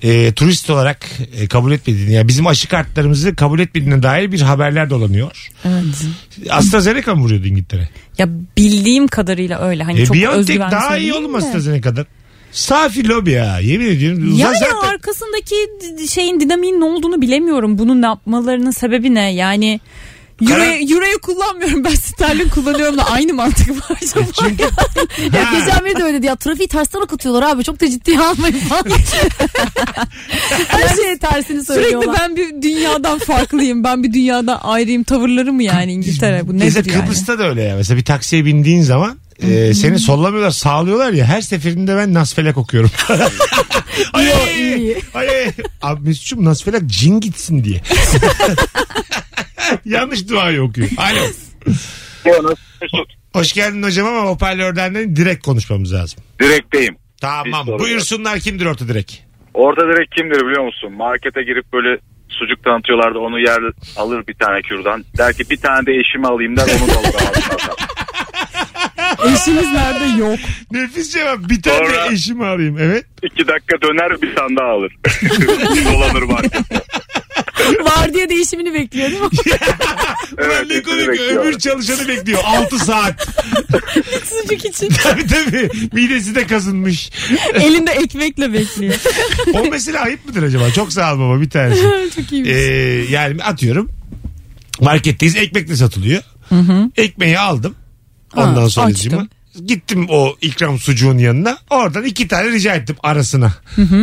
S3: e, turist olarak e, kabul etmediğini yani bizim aşı kartlarımızı kabul etmediğine dair bir haberler dolanıyor.
S4: Evet.
S3: AstraZeneca mı vuruyordu İngiltere?
S4: Ya bildiğim kadarıyla öyle. Hani
S3: E,
S4: çok
S3: Biontech
S4: özgüvenli
S3: daha iyi
S4: söyleyeyim
S3: oğlum
S4: de.
S3: AstraZeneca'dan. Safi lobi ya yemin ediyorum. Ulan
S4: Ya ya
S3: zaten-
S4: arkasındaki d- şeyin dinamiğin ne olduğunu bilemiyorum. Bunun yapmalarının sebebi ne? Yani Euro'yu Euro'yu kullanmıyorum ben sterlin kullanıyorum da aynı mantık var
S3: E,
S4: acaba.
S5: Ya
S3: Ha.
S5: geçen biri de öyle dedi ya trafiği tersten okutuyorlar abi çok da ciddiye almayın falan. Her şeye tersini
S4: Sürekli
S5: söylüyorlar.
S4: ben bir dünyadan farklıyım. Ben bir dünyadan ayrıyım tavırları mı yani İngiltere? Bu nedir
S3: Mesela
S4: yani?
S3: Kıbrıs'ta da öyle ya. Mesela bir taksiye bindiğin zaman e, seni sollamıyorlar, sağlıyorlar ya. Her seferinde ben nasfelak okuyorum. ay, ay,
S5: iyi.
S3: ay, ay. Abi Mesut'cum nasfelak cin gitsin diye. Yanlış duayı okuyor. Alo. Hoş geldin hocam ama hoparlörden de direkt konuşmamız lazım.
S9: Direkteyim.
S3: Tamam.
S9: Bir soru
S3: Buyursunlar kimdir orta direkt?
S9: Orada direkt kimdir biliyor musun? Markete girip böyle sucuk tanıtıyorlardı. Onu yer alır bir tane kürdan. Der ki bir tane de eşimi alayım der onu da alır. ağzına atar.
S4: Eşimiz nerede yok.
S3: Nefis cevap. Bir tane de
S9: Sonra-
S3: eşimi alayım. Evet.
S9: İki dakika döner bir tane daha alır. Dolanır markette.
S5: Var diye değişimini bekliyor değil mi?
S9: Evet,
S3: Ulan ne
S9: hepsini
S3: komik.
S9: bekliyorlar.
S3: Öbür çalışanı bekliyor. 6 saat.
S5: Sucuk için.
S3: tabii tabii. Midesi de kazınmış.
S4: Elinde ekmekle bekliyor.
S3: O mesela ayıp mıdır acaba? Çok sağ ol baba bir tanesi.
S4: Çok iyi.
S3: Ee, yani atıyorum marketteyiz ekmek de satılıyor. Ekmeği aldım. Ondan
S4: Ha,
S3: sonra
S4: açtım.
S3: Gittim o ikram sucuğun yanına. Oradan iki tane rica ettim arasına.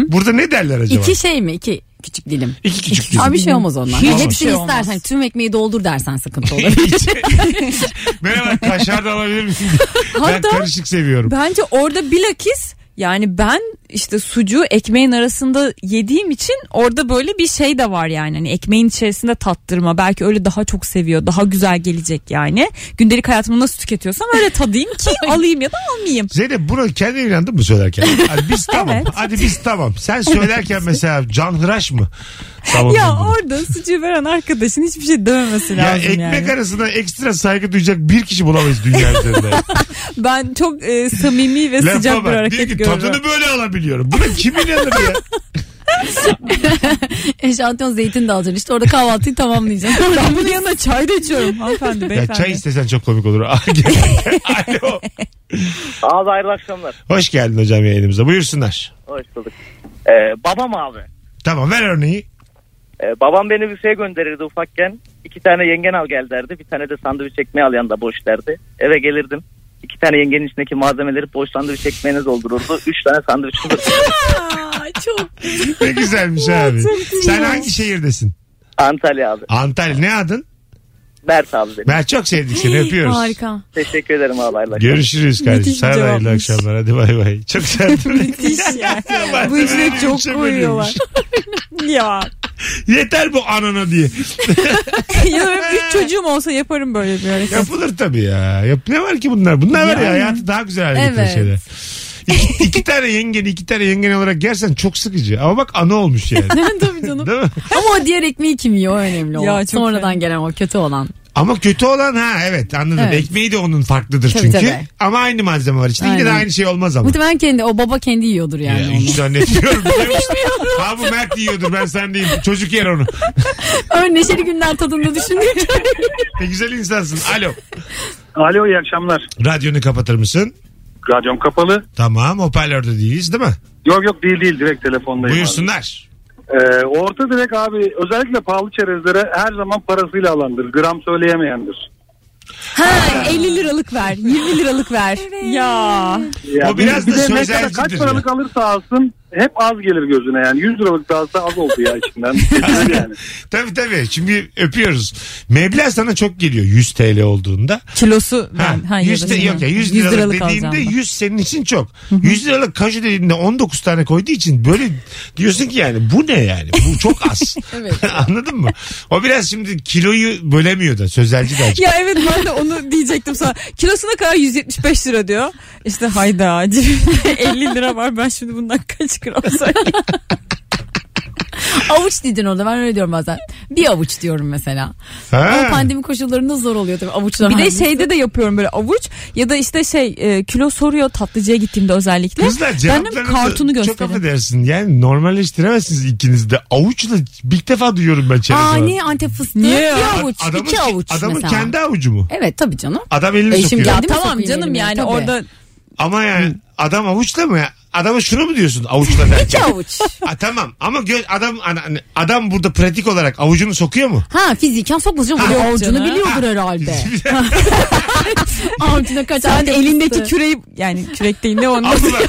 S3: Burada ne derler acaba?
S5: İki şey mi? İki küçük dilim.
S3: İki küçük dilim.
S5: Abi bir şey olmaz ondan.
S4: Hiç
S5: Hepsini
S4: bir şey olmaz.
S5: istersen tüm ekmeği doldur dersen sıkıntı olur.
S3: Merhaba kaşar da alabilir misin? ben
S4: Hatta-
S3: karışık seviyorum.
S4: Bence orada bilakis yani ben işte sucuğu ekmeğin arasında yediğim için orada böyle bir şey de var yani. Hani ekmeğin içerisinde tattırma. Belki öyle daha çok seviyor. Daha güzel gelecek yani. Gündelik hayatımı nasıl tüketiyorsam öyle tadayım ki alayım ya da almayayım.
S3: Zeynep buna kendin inandın mı söylerken? Hadi biz tamam.
S4: Evet.
S3: Hadi biz tamam. Sen söylerken mesela Can Hıraş mı? Tamam.
S4: Ya
S3: dedin bunu.
S4: orada sucuğu veren arkadaşın hiçbir şey dememesi
S3: Ya
S4: lazım
S3: ekmek
S4: yani.
S3: arasına ekstra saygı duyacak bir kişi bulamayız dünya üzerinde.
S4: Ben çok e, samimi ve
S3: Lafa
S4: sıcak bir
S3: bak. Diyor ki
S4: hareket görüyorum.
S3: tadını böyle alabiliyorum. Buna kim inanır ya?
S5: Eşantiyon zeytin de alacaksın. İşte orada kahvaltıyı tamamlayacaksın.
S4: Ben bunun yanına çay da içiyorum hanımefendi
S3: ya
S4: beyefendi.
S3: çay istesen çok komik olur. Alo.
S8: Abi hayırlı akşamlar.
S3: Hoş geldin hocam yayınımıza. Buyursunlar.
S8: Hoş bulduk.
S7: E,
S8: Ee, babam abi.
S3: Tamam ver örneği.
S8: Ee, babam beni bir şeye gönderirdi ufakken. İki tane yengen al gel derdi. Bir tane de sandviç ekmeği al yanında boş derdi. Eve gelirdim. İki tane yengenin içindeki malzemeleri boş sandviç ekmeğine doldururdu. Üç tane sandviç olurdu.
S5: Aa, çok.
S3: Ne güzelmiş abi. Sen hangi şehirdesin?
S8: Antalya abi.
S3: Antalya. Ne adın?
S8: Mert abi benim.
S3: Ben çok sevdik seni. Öpüyoruz.
S5: Harika.
S8: Teşekkür ederim abi hayırlı akşamlar.
S3: Görüşürüz kardeşim.
S4: Müthiş
S3: Sana
S4: bir
S3: da hayırlı
S4: cevapmış.
S3: akşamlar. Hadi bay bay. Çok sevdim.
S4: Müthiş yani. Bu içine çok
S3: şey
S4: koyuyorlar. ya.
S3: Yeter bu anana diye.
S4: ya da benim üç çocuğum olsa yaparım böyle bir hareket.
S3: Yapılır tabii ya. Yap, ne var ki bunlar? Bunlar var ya hayatı daha güzel hale getiren
S5: Evet.
S3: şeyler. İki, iki tane yengen iki tane yengen olarak gersen çok sıkıcı. Ama bak ana olmuş yani.
S5: Tabii canım.
S3: Değil mi?
S5: Ama o diğer ekmeği kim yiyor o önemli olan.
S4: Ya çok
S5: Sonradan
S4: fena.
S5: gelen o kötü olan.
S3: Ama kötü olan ha evet anladım.
S5: Evet.
S3: Ekmeği de onun farklıdır
S5: Tabii,
S3: çünkü.
S5: tabii.
S3: Ama aynı malzeme var içinde. Yine de
S5: Aynen.
S3: aynı şey olmaz ama.
S5: Muhtemelen kendi o baba kendi yiyordur yani
S3: Ya,
S5: onu.
S3: hiç zannetmiyorum. ha bu Mert yiyordur ben sen değilim. Çocuk yer onu.
S5: Ön neşeli günler tadında düşündüğüm
S3: Ne güzel insansın. Alo.
S9: Alo iyi akşamlar.
S3: Radyonu kapatır mısın?
S9: Radyom kapalı.
S3: Tamam hoparlörde değiliz değil mi?
S9: Yok yok değil değil direkt telefondayım.
S3: Buyursunlar.
S9: Abi. Ee, orta direkt abi özellikle pahalı çerezlere her zaman parasıyla alandır. Gram söyleyemeyendir.
S4: Ha, 50 liralık ver, 20 liralık ver. Ya.
S9: Ya
S3: O biraz da
S9: de ne kadar-
S3: sözelcidir
S9: Kaç
S3: ya.
S9: paralık alırsa alsın hep az gelir gözüne yani. 100 liralık da alsa az oldu ya içinden. Geçilir yani.
S3: Tabii tabii. Şimdi öpüyoruz. Meblağ sana çok geliyor 100 TL olduğunda.
S4: Kilosu
S3: Ha,
S4: ben. Ha,
S3: 100 te- yok ya 100 liralık, dediğinde
S4: alacağım ben.
S3: 100 senin için çok. 100 liralık kaju dediğinde 19 tane koyduğu için böyle diyorsun ki yani bu ne yani? Bu çok az. Anladın mı? O biraz şimdi kiloyu bölemiyor da sözelci de acık.
S4: Ya evet ben de onu diyecektim sana. Kilosuna kadar 175 lira diyor. İşte hayda cebimde 50 lira var ben şimdi bundan kaç gram söyleyeyim.
S5: Avuç dedin orada ben öyle diyorum bazen. Bir avuç diyorum mesela.
S3: Ha.
S5: O pandemi koşullarında zor oluyor tabii avuçlar.
S4: Bir de
S5: hangisi?
S4: şeyde de yapıyorum böyle avuç ya da işte şey e, kilo soruyor tatlıcıya gittiğimde özellikle.
S3: Kızlar
S4: Benim kartunu
S3: cevaplarınızı çok
S4: gösterin.
S3: affedersin. Yani normalleştiremezsiniz ikiniz de. Avuçla ilk defa duyuyorum ben çerez
S5: Aa
S3: olarak.
S5: niye Antep fıstığı?
S4: Niye ya?
S5: Bir avuç,
S3: Adamın-
S5: iki avuç
S3: Adamın
S5: mesela. E,
S3: kendi avucu mu?
S5: Evet tabii canım.
S3: Adam elini
S5: Eşim
S3: sokuyor.
S5: geldi.
S4: Ya
S5: Değil mi?
S4: tamam
S5: Sokayım
S4: canım
S5: elimi,
S4: yani
S5: tabii.
S4: orada
S3: Ama yani adam avuçla mı ya? Adama şunu mu diyorsun avuçla derken?
S5: İki avuç.
S3: Ha, tamam ama gö- adam ana- adam burada pratik olarak avucunu sokuyor mu?
S5: Ha fiziken sokmaz canım. Oraya avucunu biliyordur herhalde. Avucuna kaç
S4: sen
S5: Antep
S4: elindeki
S5: fıstığı.
S4: küreği yani kürek değil ne onda
S3: ama bak,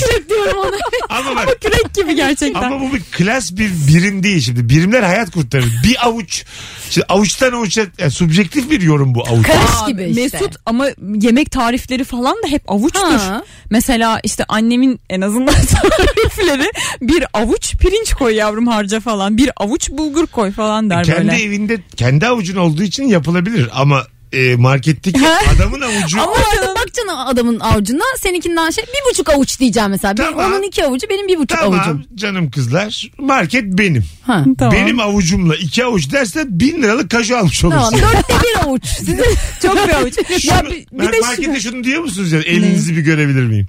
S5: kürek diyorum ona.
S3: ama bak.
S4: kürek gibi gerçekten.
S3: Ama bu bir klas bir birim değil şimdi. Birimler hayat kurtarır. Bir avuç. Şimdi avuçtan avuça yani subjektif bir yorum bu avuç.
S5: Karış gibi işte.
S4: Mesut ama yemek tarifleri falan da hep avuçtur.
S5: Ha.
S4: Mesela işte annemin en azından tarifleri bir avuç pirinç koy yavrum harca falan. Bir avuç bulgur koy falan der
S3: E, Kendi
S4: böyle.
S3: evinde kendi avucun olduğu için yapılabilir ama e, marketteki adamın avucu
S5: Ama orada bak canım adamın avucuna seninkinden şey bir buçuk avuç diyeceğim mesela. Benim-
S3: Tamam.
S5: onun iki avucu benim bir buçuk
S3: Tamam
S5: avucum.
S3: canım kızlar market benim.
S5: Ha.
S4: Tamam.
S3: Benim avucumla iki avuç dersen bin liralık kaju almış olursun.
S5: Tamam dörtte bir avuç. Sizin
S4: Çok bir avuç. ya bir, bir
S3: Ben
S4: de şu-
S3: markette şunu diyor musunuz yani elinizi bir görebilir miyim?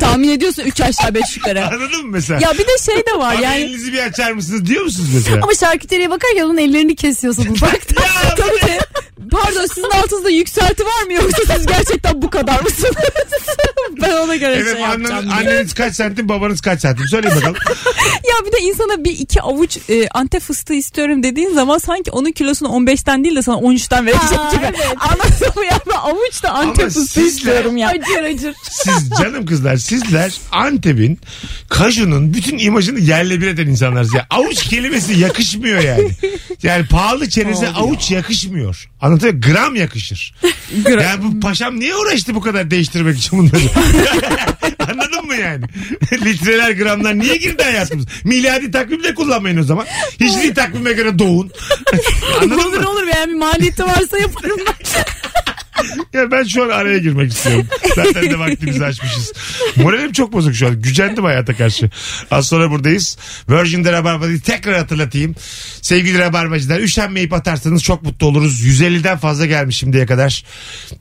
S4: tahmin ediyorsun 3 aşağı 5 yukarı.
S3: Anladın mı mesela?
S4: ya bir de şey de var
S3: Abi
S4: yani.
S3: elinizi bir açar mısınız diyor musunuz mesela?
S5: Ama şarküteriye bakarken onun ellerini kesiyorsun mutfakta.
S3: Ya
S4: Tabii ki. Pardon sizin altınızda yükselti var mı yoksa siz gerçekten bu kadar mısınız? Ben ona göre
S3: Evet
S4: şey yapacağım.
S3: annen, anneniz kaç santim babanız kaç santim söyleyin bakalım.
S4: Ya bir de insana bir iki avuç e, antep fıstığı istiyorum dediğin zaman sanki onun kilosunu 15'ten değil de sana 13'ten verecek gibi. Anladın mı ya? Ben avuç da antep
S3: Ama
S4: fıstığı
S3: sizle-
S4: istiyorum ya.
S5: Acır acır.
S3: Siz canım kızlar sizler Antep'in kajunun bütün imajını yerle bir eden insanlarsınız. Ya, avuç kelimesi yakışmıyor yani. Yani pahalı çenese avuç yakışmıyor. Anlatıyor muyum? gram yakışır. Yani bu paşam niye uğraştı bu kadar değiştirmek için bunları? Anladın mı yani? Litreler gramlar niye girdi hayatımız? Miladi takvimde kullanmayın o zaman. Hicri takvime göre doğun. Anladın
S5: olur
S3: mı?
S5: olur yani bir maliyeti varsa yaparım ben.
S3: Ya ben şu an araya girmek istiyorum. Zaten de vaktimizi açmışız. Moralim çok bozuk şu an. Gücendim hayata karşı. Az sonra buradayız. Virgin'de Rabarba'yı tekrar hatırlatayım. Sevgili Rabarbacılar üşenmeyip atarsanız çok mutlu oluruz. 150'den fazla gelmiş şimdiye kadar.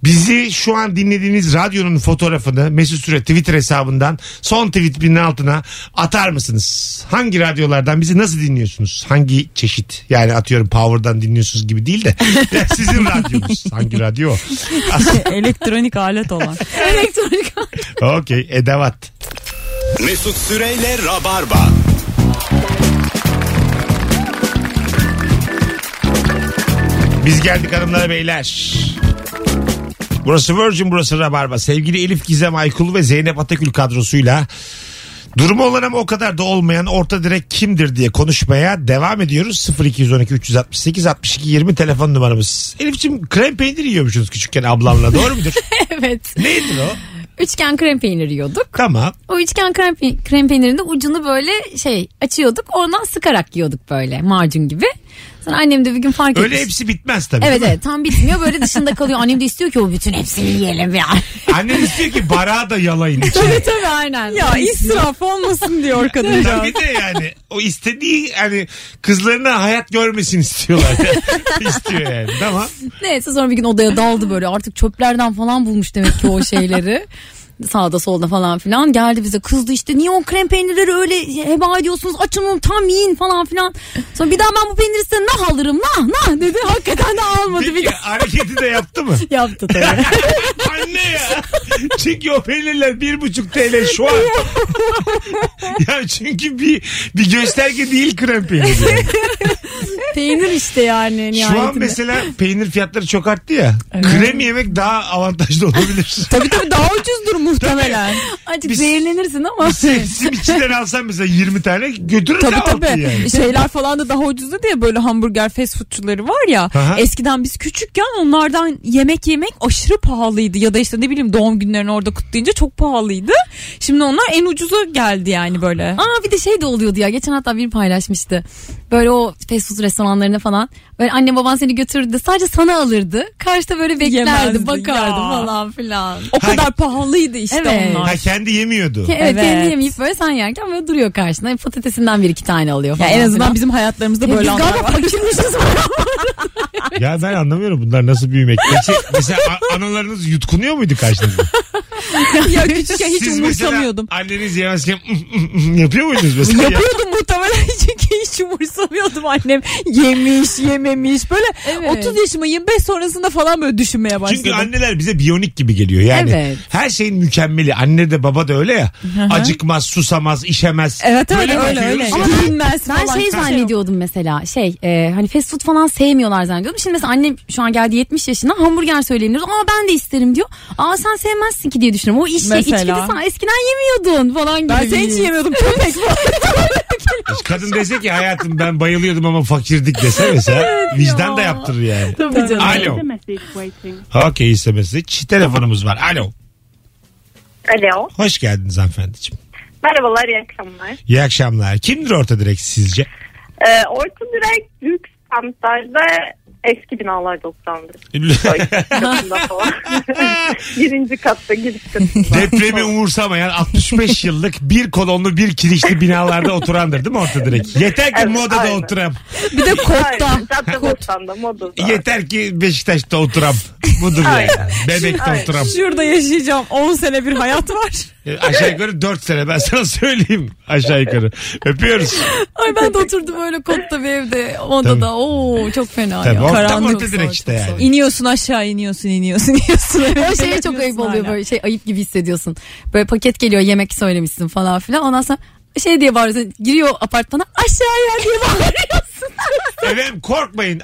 S3: Bizi şu an dinlediğiniz radyonun fotoğrafını Mesut Süre Twitter hesabından son tweet binin altına atar mısınız? Hangi radyolardan bizi nasıl dinliyorsunuz? Hangi çeşit? Yani atıyorum Power'dan dinliyorsunuz gibi değil de. Sizin radyonuz. Hangi radyo? o?
S4: Elektronik alet olan.
S5: Elektronik.
S3: Okey edevat.
S2: Mesut Süreyle Rabarba.
S3: Biz geldik hanımlar beyler. Burası Virgin burası Rabarba. Sevgili Elif Gizem Aykul ve Zeynep Atakül kadrosuyla durumu olan ama o kadar da olmayan orta direk kimdir diye konuşmaya devam ediyoruz. 0212 368 62 20 telefon numaramız. Elif'ciğim krem peynir yiyormuşsunuz küçükken ablamla doğru mudur?
S5: evet.
S3: Neydi o?
S5: Üçgen krem peyniri yiyorduk.
S3: Tamam.
S5: O üçgen krem, pe- krem peynirinin de ucunu böyle şey açıyorduk. Oradan sıkarak yiyorduk böyle macun gibi. Sonra annem de bir gün fark
S3: Öyle
S5: etmiş.
S3: hepsi bitmez tabii.
S5: Evet
S3: değil mi?
S5: evet tam bitmiyor böyle dışında kalıyor. Annem de istiyor ki o bütün hepsini yiyelim ya.
S3: Annen istiyor ki barağı da yalayın içine.
S5: tabii tabii aynen.
S4: ya israf olmasın diyor kadıncağız.
S3: Tabii de yani o istediği hani kızlarına hayat görmesin istiyorlar. İstiyor yani tamam.
S5: Neyse sonra bir gün odaya daldı böyle artık çöplerden falan bulmuş demek ki o şeyleri. sağda solda falan filan geldi bize kızdı işte niye o krem peynirleri öyle heba ediyorsunuz açın onu tam yiyin falan filan. Sonra bir daha ben bu peyniri size nah alırım nah nah dedi hakikaten de almadı bir
S3: Peki
S5: daha.
S3: hareketi de yaptı mı?
S5: Yaptı tabii.
S3: Anne ya. Çünkü o peynirler bir buçuk TL şu an. ya çünkü bir bir gösterge değil krem peyniri. yani.
S5: Peynir işte yani
S3: Şu an
S5: nihayetinde.
S3: mesela peynir fiyatları çok arttı ya. Krem yemek daha avantajlı olabilir.
S4: Tabii tabii daha ucuzdur muhtemelen.
S5: Azıcık
S3: biz- şey
S5: zehirlenirsin ama.
S3: Sevsim içinden alsam mesela 20 tane götürür
S4: tabii
S3: tabii,
S4: tabii.
S3: yani.
S4: Şeyler falan da daha ucuzdu diye böyle hamburger fast foodçuları var ya.
S3: Aha.
S4: Eskiden biz küçükken onlardan yemek yemek aşırı pahalıydı. Ya da işte ne bileyim doğum günlerini orada kutlayınca çok pahalıydı. Şimdi onlar en ucuza geldi yani böyle.
S5: Aa bir de şey de oluyordu ya. Geçen hatta biri paylaşmıştı. Böyle o fast food restoranlarına falan. Böyle anne baban seni götürürdü. Sadece sana alırdı. Karşıda böyle beklerdi.
S4: Yemezdi
S5: bakardı
S4: ya.
S5: falan filan.
S4: O kadar pahalıydı işte
S5: Evet.
S4: onlar.
S3: Ha kendi yemiyordu.
S5: Evet,
S4: Evet.
S5: kendi yemeyip böyle sen yerken böyle duruyor karşında. Patatesinden bir iki tane alıyor
S4: Ya
S5: falan.
S4: en azından
S5: filan.
S4: bizim hayatlarımızda
S5: Ya
S4: böyle
S5: biz
S4: anlar
S5: galiba
S4: var.
S5: fakirmişiz.
S3: Ya ben anlamıyorum bunlar nasıl büyümek. Peki, mesela a- analarınız yutkunuyor muydu karşınızda?
S4: ya küçükken hiç
S3: Siz mesela
S4: umursamıyordum.
S3: anneniz "Mm, yemezken yapıyor muydunuz mesela?
S4: Yapıyordum muhtemelen çünkü hiç umursamıyordum annem. Yemiş yememiş böyle
S5: Evet.
S4: 30 yaşıma 25 sonrasında falan böyle düşünmeye başladım.
S3: Çünkü anneler bize biyonik gibi geliyor yani.
S5: Evet.
S3: Her şeyin mükemmeli. Anne de baba da öyle ya. Acıkmaz, susamaz, işemez.
S4: Evet öyle
S3: mi
S4: öyle
S3: bakıyoruz
S4: öyle.
S3: ya?
S4: Bilmez
S5: Ben şey zannediyordum mesela şey e, hani fast food falan sevmiyorlar zannediyordum. Şimdi mesela annem şu an geldi 70 yaşına hamburger söyleyeyim diyor. Aa ben de isterim diyor. Aa sen sevmezsin ki diye düşünüyorum. O işte
S4: Mesela.
S5: içkide sen eskiden yemiyordun falan gibi.
S4: Ben seni hiç yemiyordum köpek
S3: Kadın dese ki hayatım ben bayılıyordum ama fakirdik dese mesela vicdan da yaptırır yani.
S5: Tabii canım.
S3: Alo. Okey istemesi. Telefonumuz var. Alo.
S10: Alo.
S3: Hoş geldiniz hanımefendiciğim.
S10: Merhabalar, iyi akşamlar.
S3: İyi akşamlar. Kimdir orta direkt sizce?
S10: Ee, orta direk büyük standlarda eski binalar 90'dır. Katında falan. Birinci katta, giriş katında.
S3: Depremi umursamayan 65 yıllık bir kolonlu bir kirişli binalarda oturandır değil mi orta direkt? Yeter ki
S10: Evet,
S3: modada
S10: aynen.
S3: oturam.
S4: Bir de kotta.
S10: Aynen. Cadde Bostan'da Moda'da.
S3: Yeter ki Beşiktaş'ta oturam. Budur yani. Bebek'te oturam.
S4: Şurada yaşayacağım 10 sene bir hayat var.
S3: E, Aşağı yukarı 4 sene ben sana söyleyeyim. Aşağı yukarı. Öpüyoruz.
S5: Ay ben de oturdum öyle kotta bir evde
S3: Tabii.
S5: odada. Oo çok fena
S3: Tabii
S5: ya.
S3: orta- tam
S5: Karanlık.
S3: orta direkt işte yani.
S4: İniyorsun aşağı iniyorsun iniyorsun iniyorsun.
S5: O şeye çok ayıp oluyor
S4: Hala.
S5: böyle şey ayıp gibi hissediyorsun. Böyle paket geliyor yemek söylemişsin falan filan. Ondan sonra şey diye bağırıyorsun. Giriyor apartmana aşağıya diye bağırıyorsun.
S3: Efendim korkmayın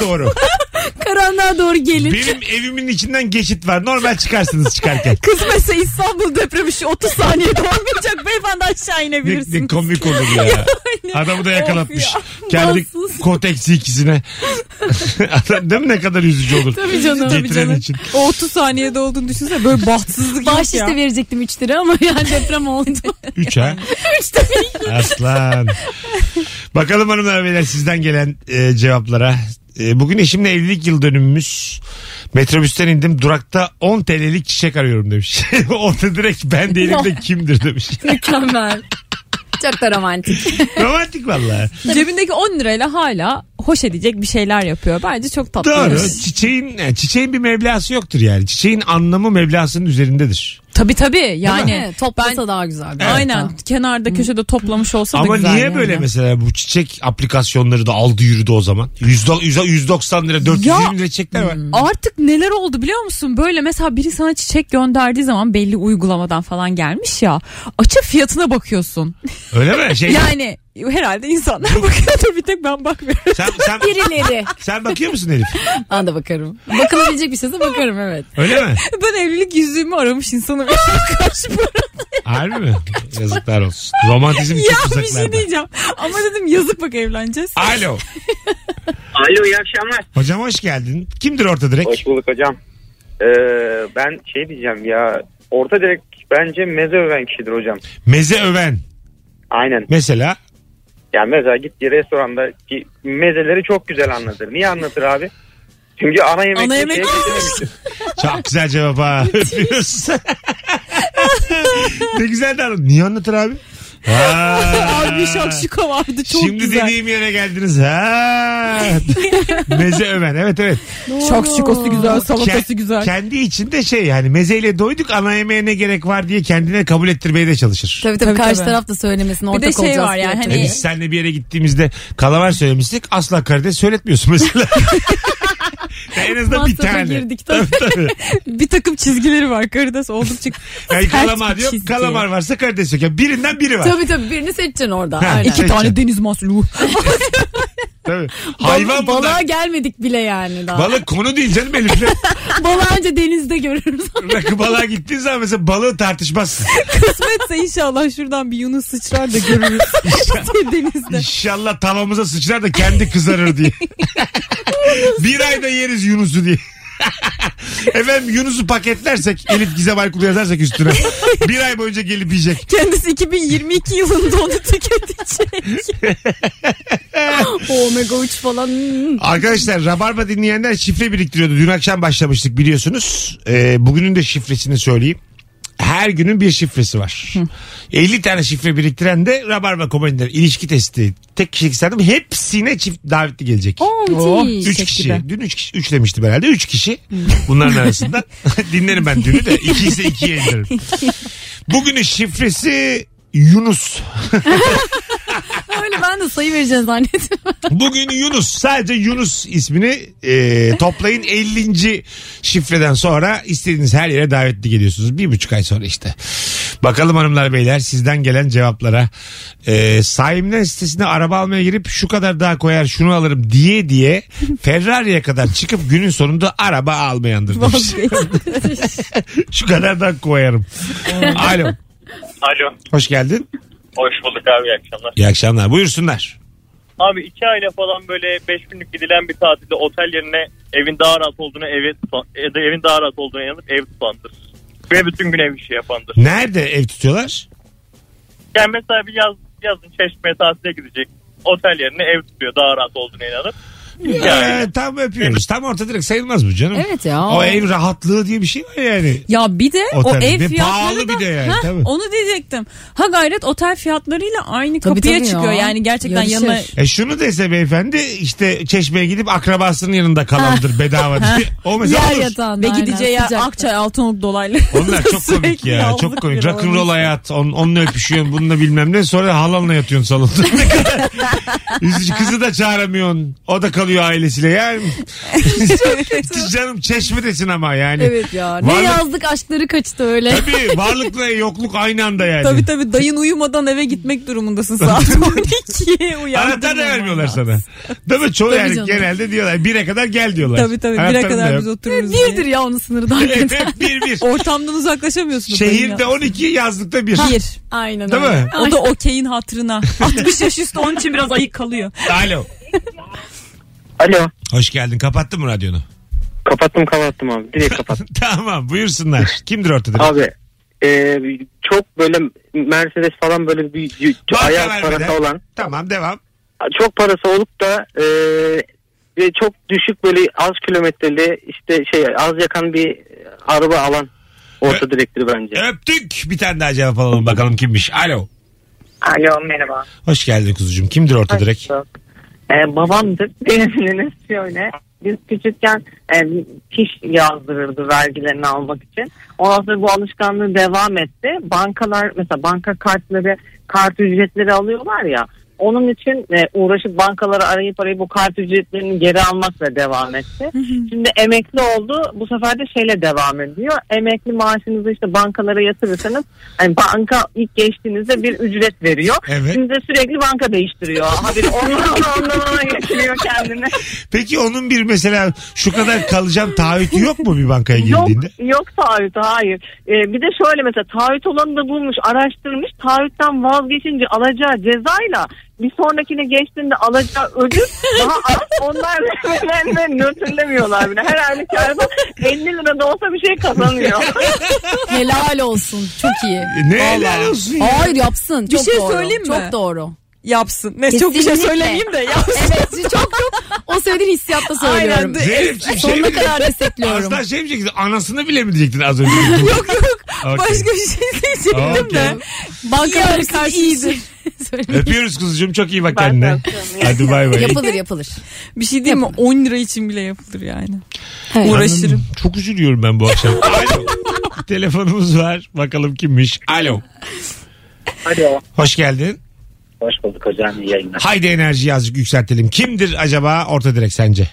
S3: doğru.
S5: Karanlığa doğru gelin.
S3: Benim evimin içinden geçit var. Normal çıkarsınız çıkarken.
S4: Kız mesela İstanbul depremi şu 30 saniyede olmayacak beyefendi aşağı
S3: Ne,
S4: inebilirsin.
S3: ne komik olur ya. Adamı da yakalatmış. Kendi
S5: Bahtsız.
S3: koteksi ikisine. Adam, değil mi ne kadar üzücü olur?
S5: Tabii canım.
S3: Getiren
S5: Tabii canım.
S3: için.
S4: O 30 saniyede olduğunu düşünsene böyle bahtsızlık
S5: Bahşiş
S4: yok ya.
S5: de verecektim 3 lira ama yani deprem oldu.
S3: Üç ha. Aslan. Bakalım hanımlar beyler sizden gelen e, cevaplara. E, bugün eşimle evlilik yıl dönümümüz. Metrobüsten indim durakta 10 TL'lik çiçek arıyorum demiş. Orta direkt ben değilim de kimdir demiş.
S5: Mükemmel. Çok da romantik.
S3: Romantik valla.
S4: Cebindeki 10 lirayla hala hoş edecek bir şeyler yapıyor. Bence çok tatlı.
S3: Doğru. Çiçeğin, yani çiçeğin bir meblası yoktur yani. Çiçeğin anlamı meblasının üzerindedir.
S4: Tabii tabii yani.
S5: Yani toplasa daha güzel. bir
S4: Aynen
S5: hatta.
S4: kenarda köşede toplamış olsa da
S3: Ama
S4: güzel
S3: niye
S4: yani.
S3: böyle mesela bu çiçek aplikasyonları da aldı yürüdü o zaman? 100, 190 lira 420 lira çiçekler var.
S4: Hmm. Artık neler oldu biliyor musun? Böyle mesela biri sana çiçek gönderdiği zaman belli uygulamadan falan gelmiş ya. Açıp fiyatına bakıyorsun.
S3: Öyle mi? Şey,
S4: Yani herhalde insanlar bakıyor da bir tek ben bakmıyorum.
S3: sen, sen,
S5: Birileri.
S3: sen bakıyor musun Elif?
S5: Ben de bakarım. Bakılabilecek bir şeyse bakarım evet.
S3: Öyle mi?
S4: Ben evlilik yüzüğümü aramış insanım. Kaç para?
S3: Harbi mi? Yazıklar olsun. Romantizm çok
S4: ya bir şey
S3: uzaklarda.
S4: diyeceğim. Ama dedim yazık bak evleneceğiz.
S3: Alo.
S6: Alo iyi akşamlar.
S3: Hocam hoş geldin. Kimdir orta direkt?
S6: Hoş bulduk hocam. Ee, ben şey diyeceğim ya orta direkt bence meze öven kişidir hocam.
S3: Meze öven.
S6: Aynen.
S3: Mesela
S6: Yani mesela git bir restoranda ki mezeleri çok güzel anlatır. Niye anlatır abi? Çünkü ana yemek.
S4: Ana yemek-
S3: çok güzel cevap ha. Öpüyoruz. ne güzel de anladın. Niye anlatır abi? Ha.
S4: Abi bir şakşuka vardı çok
S3: Şimdi
S4: güzel.
S3: dediğim yere geldiniz. Ha. meze öven. Evet evet.
S4: Şakşukası güzel, salatası
S3: Ke-
S4: güzel.
S3: Kendi içinde şey yani mezeyle doyduk ana yemeğe ne gerek var diye kendine kabul ettirmeye de çalışır.
S5: Tabii tabii,
S4: Tabii,
S5: karşı
S4: tabii.
S5: taraf da söylemesin ortak
S4: de şey
S5: olacağız
S4: var
S5: diye.
S4: yani, hani-
S3: E
S4: Ee?
S3: biz seninle bir yere gittiğimizde kalamar söylemiştik. Asla karides söyletmiyorsun mesela. Ya en azından bir
S4: Masrafa
S3: tane.
S4: girdik tabii. bir takım çizgileri var karides oldukça.
S3: Yani
S4: sert
S3: kalamar
S4: bir
S3: yok.
S4: çizgi.
S3: Kalamar varsa karides yok. Yani birinden biri var.
S5: Tabii tabii birini seçeceksin orada.
S3: Ha,
S5: Aynen.
S3: iki-
S4: İki tane deniz mahsulü.
S3: Tabii. Hayvan
S5: Bal- Balığa
S3: bunlar.
S5: gelmedik bile yani daha.
S3: Balık konu değil canım Elif'le.
S5: Balığa önce denizde görürüz.
S3: Rakı balığa gittiğin zaman mesela balığı tartışmazsın.
S4: Kısmetse inşallah şuradan bir Yunus sıçrar da görürüz. Denizde.
S3: İnşallah tavamıza sıçrar da kendi kızarır diye. bir ayda yeriz Yunus'u diye. Efendim Yunus'u paketlersek Elif Gizem Aykul yazarsak üstüne. bir ay boyunca gelip yiyecek.
S4: Kendisi 2022 yılında onu tüketecek.
S5: Omega 3 falan. Hmm.
S3: Arkadaşlar Rabarba dinleyenler şifre biriktiriyordu. Dün akşam başlamıştık biliyorsunuz. Ee, bugünün de şifresini söyleyeyim. Her günün bir şifresi var. 50 tane şifre biriktiren de Rabarba komediler ilişki testi. Tek kişilik sandım. Hepsine çift davetli gelecek.
S5: Oo, müthiş.
S3: 3 kişi. Dün 3 kişi. 3 demiştim herhalde. 3 kişi. Bunların arasında. Dinlerim ben dünü de. 2 ise 2'ye indiririm. Bugünün şifresi Yunus.
S5: Öyle ben de sayı vereceğim zannettim.
S3: Bugün Yunus sadece Yunus ismini e, toplayın 50. şifreden sonra istediğiniz her yere davetli geliyorsunuz. Bir buçuk ay sonra işte. Bakalım hanımlar beyler sizden gelen cevaplara. E, sahimler sitesine araba almaya girip şu kadar daha koyar şunu alırım diye diye Ferrari'ye kadar çıkıp günün sonunda araba almayandır. demiş. şu kadar daha koyarım. Alo.
S6: Alo.
S3: Hoş geldin.
S6: Hoş bulduk abi iyi akşamlar.
S3: İyi akşamlar. Buyursunlar.
S6: Abi iki aile falan böyle beş günlük gidilen bir tatilde otel yerine evin daha rahat olduğunu eve tutan, ya da evin daha rahat olduğuna inanıp ev tutandır. Ve bütün gün ev işi yapandır.
S3: Nerede ev tutuyorlar?
S6: Yani mesela bir yaz, yazın çeşmeye tatile gidecek. Otel yerine ev tutuyor daha rahat olduğuna inanıp.
S3: Ee, tam öpüyoruz. Tam orta direkt sayılmaz bu canım.
S5: Evet ya.
S3: O ev rahatlığı diye bir şey var yani.
S4: Ya bir de o
S3: Otel.
S4: ev
S3: Ve
S4: fiyatları
S3: pahalı
S4: da
S3: bir de yani,
S4: Heh,
S3: tabii.
S4: onu diyecektim. Ha gayret otel fiyatlarıyla aynı
S5: Tabii,
S4: kapıya
S5: tabii ya.
S4: çıkıyor. Yani gerçekten
S5: Yarışır.
S4: yanına
S3: E şunu dese beyefendi işte çeşmeye gidip akrabasının yanında kalandır bedava diye. O mesela
S5: Yer
S3: olur.
S5: yatağında.
S4: ve
S5: aynen,
S4: gideceği yer
S5: sıcak.
S4: Akçay Altınoluk dolaylı.
S3: Onlar çok komik
S4: Sürekli
S3: ya.
S4: yalnız
S3: Çok komik.
S4: bir
S3: Rock'n'roll hayat. On, onunla öpüşüyorsun. Bununla bilmem ne. Sonra halanla yatıyorsun salonda. Ne kadar Üzücü kızı da çağıramıyorsun. O da kalıyor ailesiyle. Yani canım çeşmedesin ama yani.
S5: Evet ya. Ne
S3: Varlık-
S5: yazdık aşkları kaçtı öyle.
S3: Tabii varlıkla yokluk aynı anda yani.
S4: Tabii tabii dayın uyumadan eve gitmek durumundasın saat 12'ye uyandın.
S3: Anahtar da vermiyorlar sana. Değil mi? Çoğu yani
S5: canım.
S3: genelde diyorlar. Bire kadar gel diyorlar.
S4: Tabii tabii bire
S3: Anahtarın da
S4: kadar
S3: yok.
S4: biz otururuz.
S5: Birdir
S4: diye.
S5: ya onun sınırı da
S3: Evet,
S5: hakikaten.
S3: hep bir bir.
S4: Ortamdan uzaklaşamıyorsunuz. dayın ya.
S3: Şehirde 12 yazlıkta bir.
S4: Bir.
S5: Aynen
S3: Değil
S5: öyle.
S3: mi?
S4: O da okeyin hatırına. 60 yaş üstü onun için biraz ayık kalıyor.
S3: Alo.
S7: Alo.
S3: Hoş geldin. Kapattın mı radyonu?
S7: Kapattım kapattım abi. Direkt kapattım.
S3: tamam buyursunlar. Kimdir ortada?
S7: abi e, çok böyle Mercedes falan böyle bir y-
S3: Marka
S7: ayağı
S3: vermeden.
S7: parası olan
S3: Tamam devam.
S7: çok parası olup da e, ve çok düşük böyle az kilometreli işte şey az yakan bir araba alan orta direktiri bence.
S3: Öptük. Bir tane daha cevap alalım bakalım kimmiş. Alo.
S10: Alo merhaba.
S3: Hoş geldin kuzucuğum. Kimdir orta direkt?
S10: Ee, babamdır. Benimle şöyle. Biz küçükken e, piş yazdırırdı vergilerini almak için. Ondan sonra bu alışkanlığı devam etti. Bankalar mesela banka kartları kart ücretleri alıyorlar ya. Onun için e, uğraşıp bankaları arayıp arayıp bu kart ücretlerini geri almakla devam etti. Şimdi emekli oldu. Bu sefer de şeyle devam ediyor. Emekli maaşınızı işte bankalara yatırırsanız hani banka ilk geçtiğinizde bir ücret veriyor.
S3: Evet.
S10: Şimdi de sürekli banka değiştiriyor. Haberi ondan ona ondan ona getiriyor kendini.
S3: Peki onun bir mesela şu kadar kalacağım taahhütü yok mu bir bankaya
S10: yok
S3: girdiğinde?
S10: yok taahhüt hayır. Ee, bir de şöyle mesela taahhüt olanı da bulmuş araştırmış. Taahhütten vazgeçince alacağı cezayla bir sonrakine geçtiğinde alacağı ödül daha az. Onlar hemen nötrlemiyorlar bile. Her halükarda 50 lira da olsa bir şey kazanıyor.
S5: Helal olsun. Çok iyi.
S3: E, Ne helal olsun ya.
S5: Hayır yapsın.
S4: Bir
S5: çok
S4: şey
S5: doğru.
S4: söyleyeyim mi?
S5: Çok doğru.
S4: Yapsın. Ne çok bir şey
S5: Kesinlikle.
S4: söyleyeyim de yapsın.
S5: Evet çok çok o söylediğin hissiyatla söylüyorum.
S4: Aynen.
S3: Zeynep'ciğim şey mi
S5: Sonuna
S3: diyecektin?
S5: kadar destekliyorum.
S3: Aslan şey mi diyecektin? Anasını bile mi diyecektin az önce?
S4: Yok yok.
S3: Okey.
S4: Başka bir şey diyecektim de. Bankalara
S5: Bankaları
S4: karşı
S5: karşı iyidir.
S4: şey.
S3: Öpüyoruz kuzucuğum çok iyi bak kendine. Hadi bay bay.
S5: yapılır yapılır.
S4: bir şey değil mi? 10 lira için bile yapılır yani.
S5: Evet.
S4: Uğraşırım.
S3: Anladım. Çok üzülüyorum ben bu akşam. Alo. Telefonumuz var. Bakalım kimmiş. Alo.
S7: Alo.
S3: Hoş geldin.
S7: Hoş bulduk hocam iyi yayınlar.
S3: Haydi enerjiyi azıcık yükseltelim. Kimdir acaba orta direkt sence?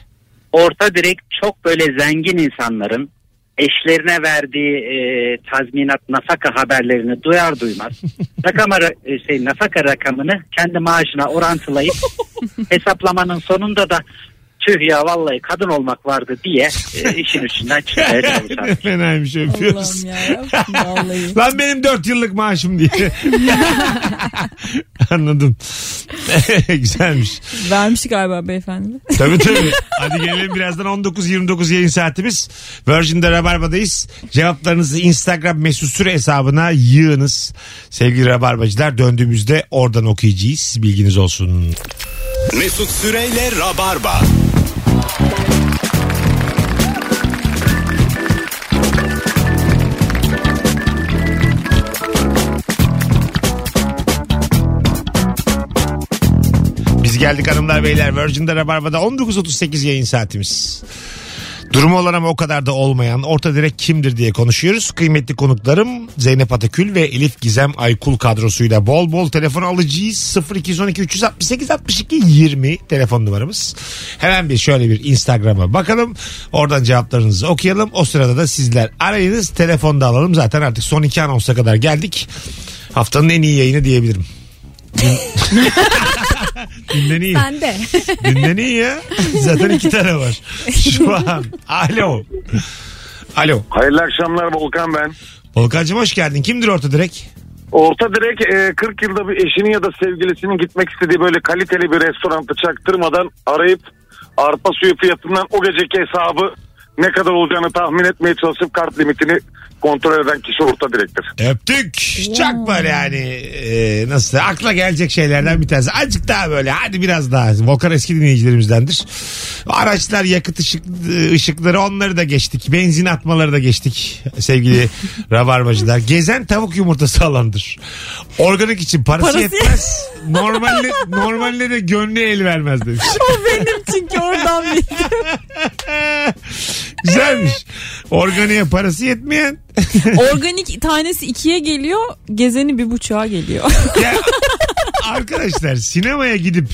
S7: orta direkt çok böyle zengin insanların eşlerine verdiği e, tazminat nafaka haberlerini duyar duymaz rakama, ra- şey, nafaka rakamını kendi maaşına orantılayıp hesaplamanın sonunda da tüh ya vallahi kadın olmak vardı diye e, işin içinden çıkmaya çalışan.
S3: Ne Fenaymış öpüyoruz.
S4: Allah'ım yarabbim, vallahi.
S3: Lan benim 4 yıllık maaşım diye. Anladım. Güzelmiş.
S4: Vermiş galiba beyefendi.
S3: Tabii tabii. Hadi gelelim birazdan 19.29 yayın saatimiz. Virgin'de Rabarba'dayız. Cevaplarınızı Instagram mesut süre hesabına yığınız. Sevgili Rabarbacılar döndüğümüzde oradan okuyacağız. Bilginiz olsun.
S2: Mesut Süreyle Rabarba.
S3: Biz geldik hanımlar beyler. Virgin'de Rabarba'da 19.38 yayın saatimiz. Durumu olan ama o kadar da olmayan orta direk kimdir diye konuşuyoruz. Kıymetli konuklarım Zeynep Atakül ve Elif Gizem Aykul kadrosuyla bol bol telefon alacağız. 0212 368 62 20 telefon numaramız. Hemen bir şöyle bir Instagram'a bakalım. Oradan cevaplarınızı okuyalım. O sırada da sizler arayınız telefonda alalım. Zaten artık son iki anonsa kadar geldik. Haftanın en iyi yayını diyebilirim. Günden iyi.
S5: Ben de.
S3: Günden iyi ya. Zaten iki tane var. Şu an. Alo. Alo.
S9: Hayırlı akşamlar Volkan ben.
S3: Volkan'cığım hoş geldin. Kimdir orta direk?
S9: Orta direk e, 40 yılda bir eşinin ya da sevgilisinin gitmek istediği böyle kaliteli bir restoranta çaktırmadan arayıp arpa suyu fiyatından o geceki hesabı ne kadar olacağını tahmin etmeye çalışıp kart limitini kontrol eden kişi orta direktir.
S3: Öptük. Çok böyle yani e, nasıl akla gelecek şeylerden bir tanesi. Azıcık daha böyle hadi biraz daha. Volkan eski dinleyicilerimizdendir. Araçlar yakıt ışık, ışıkları onları da geçtik. Benzin atmaları da geçtik sevgili rabarbacılar. Gezen tavuk yumurtası alandır. Organik için parası, yetmez. Normalde, normalde de gönlü el vermez demiş.
S4: Çünkü oradan bir
S3: Güzelmiş. Organiğe parası yetmeyen
S4: organik tanesi ikiye geliyor, gezeni bir buçuğa geliyor.
S3: Ya, arkadaşlar sinemaya gidip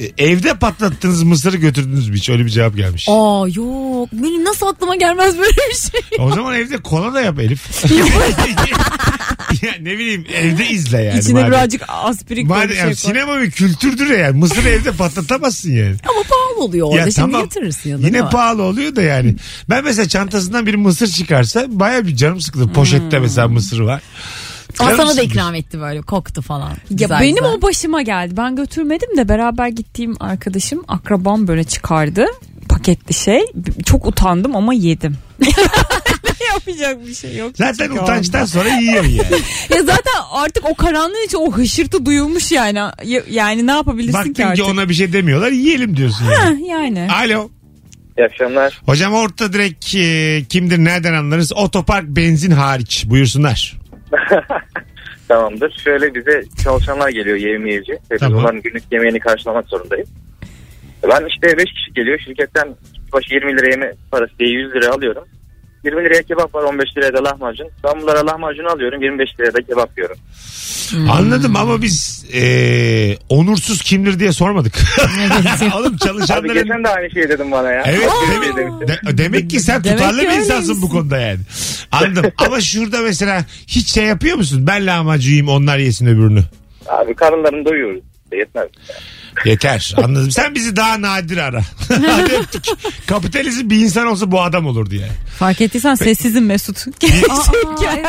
S3: e, evde patlattığınız mısırı götürdünüz mü hiç? Öyle bir cevap gelmiş.
S5: Aa yok benim nasıl aklıma gelmez böyle bir şey.
S3: O zaman evde kola da yap Elif. ya ne bileyim evde izle yani.
S4: İçine
S3: madem.
S4: birazcık aspirik böyle
S3: Madem
S4: bir şey koy.
S3: sinema bir kültürdür ya yani. Mısırı evde patlatamazsın yani.
S5: Ama pahalı oluyor orada
S3: Ya
S5: şimdi
S3: tamam.
S5: getirirsin yanına.
S3: Yine
S5: ama.
S3: pahalı oluyor da yani. Ben mesela çantasından bir mısır çıkarsa baya bir canım sıkılır. Poşette mesela mısır var. Canım
S5: Ama Hmm. sana da
S3: sıkılır.
S5: ikram etti böyle koktu falan.
S4: Ya benim o başıma geldi. Ben götürmedim de beraber gittiğim arkadaşım, akrabam böyle çıkardı. Paketli şey. B- Çok utandım ama yedim. Ne Yapacak bir şey yok.
S3: Zaten
S4: Çünkü o
S3: utançtan sonra yiyor yani.
S4: anda. Ya zaten artık o karanlığın içi o hışırtı duyulmuş yani. Ya- Yani ne yapabilirsin ki
S3: Baktın
S4: artık?
S3: ki ona bir şey demiyorlar yiyelim diyorsun yani.
S4: Heh, yani.
S3: Alo.
S8: İyi akşamlar.
S3: Hocam orta direkt e, kimdir nereden anlarız? Otopark benzin hariç buyursunlar.
S8: Tamamdır. Şöyle bize çalışanlar geliyor yevmiyeci. Ve biz
S3: Tamam.
S8: onların günlük yemeğini karşılamak zorundayız. Ben işte 5 kişi geliyor. Şirketten başı 20 lira yeme parası diye 100 lira alıyorum. 20 liraya kebap var 15 liraya da lahmacun. Ben bunlara lahmacun alıyorum 25 liraya da kebap yiyorum.
S4: Hmm.
S3: Anladım ama biz e, onursuz kimdir diye sormadık. Oğlum
S8: Abi
S3: çalışanların...
S8: geçen de aynı şeyi dedim bana ya.
S3: Evet
S8: Aynı şeyi
S3: demek,
S8: demiştim.
S3: de- demek ki sen
S4: Demek
S3: tutarlı
S4: ki
S3: bir insansın
S4: öyleymişsin.
S3: bu konuda yani. Anladım ama şurada mesela hiç şey yapıyor musun? Ben lahmacuyum onlar yesin öbürünü.
S8: Abi karınlarını doyuyoruz. Yetmez.
S3: Yeter anladım. Sen bizi daha nadir ara. Hadi öptük. Kapitalizm bir insan olsa bu adam olurdu yani.
S4: Fark ettiysen sessizim Mesut. Gerçek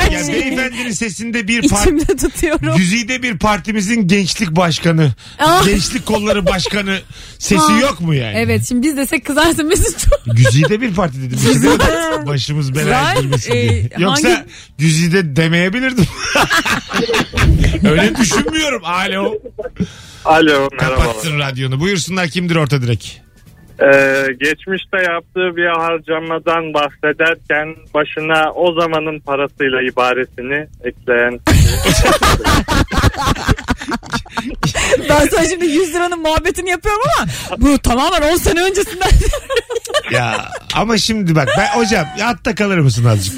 S4: her
S3: Yani
S4: şeyi
S3: beyefendinin sesinde bir parça
S4: içimde tutuyorum.
S3: Güzide bir partimizin gençlik başkanı,
S5: Ah.
S3: gençlik kolları başkanı sesi
S5: Ha.
S3: yok mu yani?
S5: Evet şimdi biz desek kızarsın Mesut.
S3: Güzide bir parti dedim. Bizim de başımız belaya
S4: Ben,
S3: girmesin
S4: e,
S3: diye. Yoksa
S4: hangi-
S3: güzide demeyebilirdim. Öyle düşünmüyorum. Alo.
S6: Alo merhabalar.
S3: Kapatsın radyonu. Buyursunlar kimdir orta direk?
S6: Ee, geçmişte yaptığı bir harcamadan bahsederken başına o zamanın parasıyla ibaresini ekleyen
S4: Ben sana şimdi 100 liranın muhabbetini yapıyorum ama bu tamamen 10 sene öncesinden.
S3: Ya ama şimdi bak ben hocam ya hatta kalır mısın azıcık?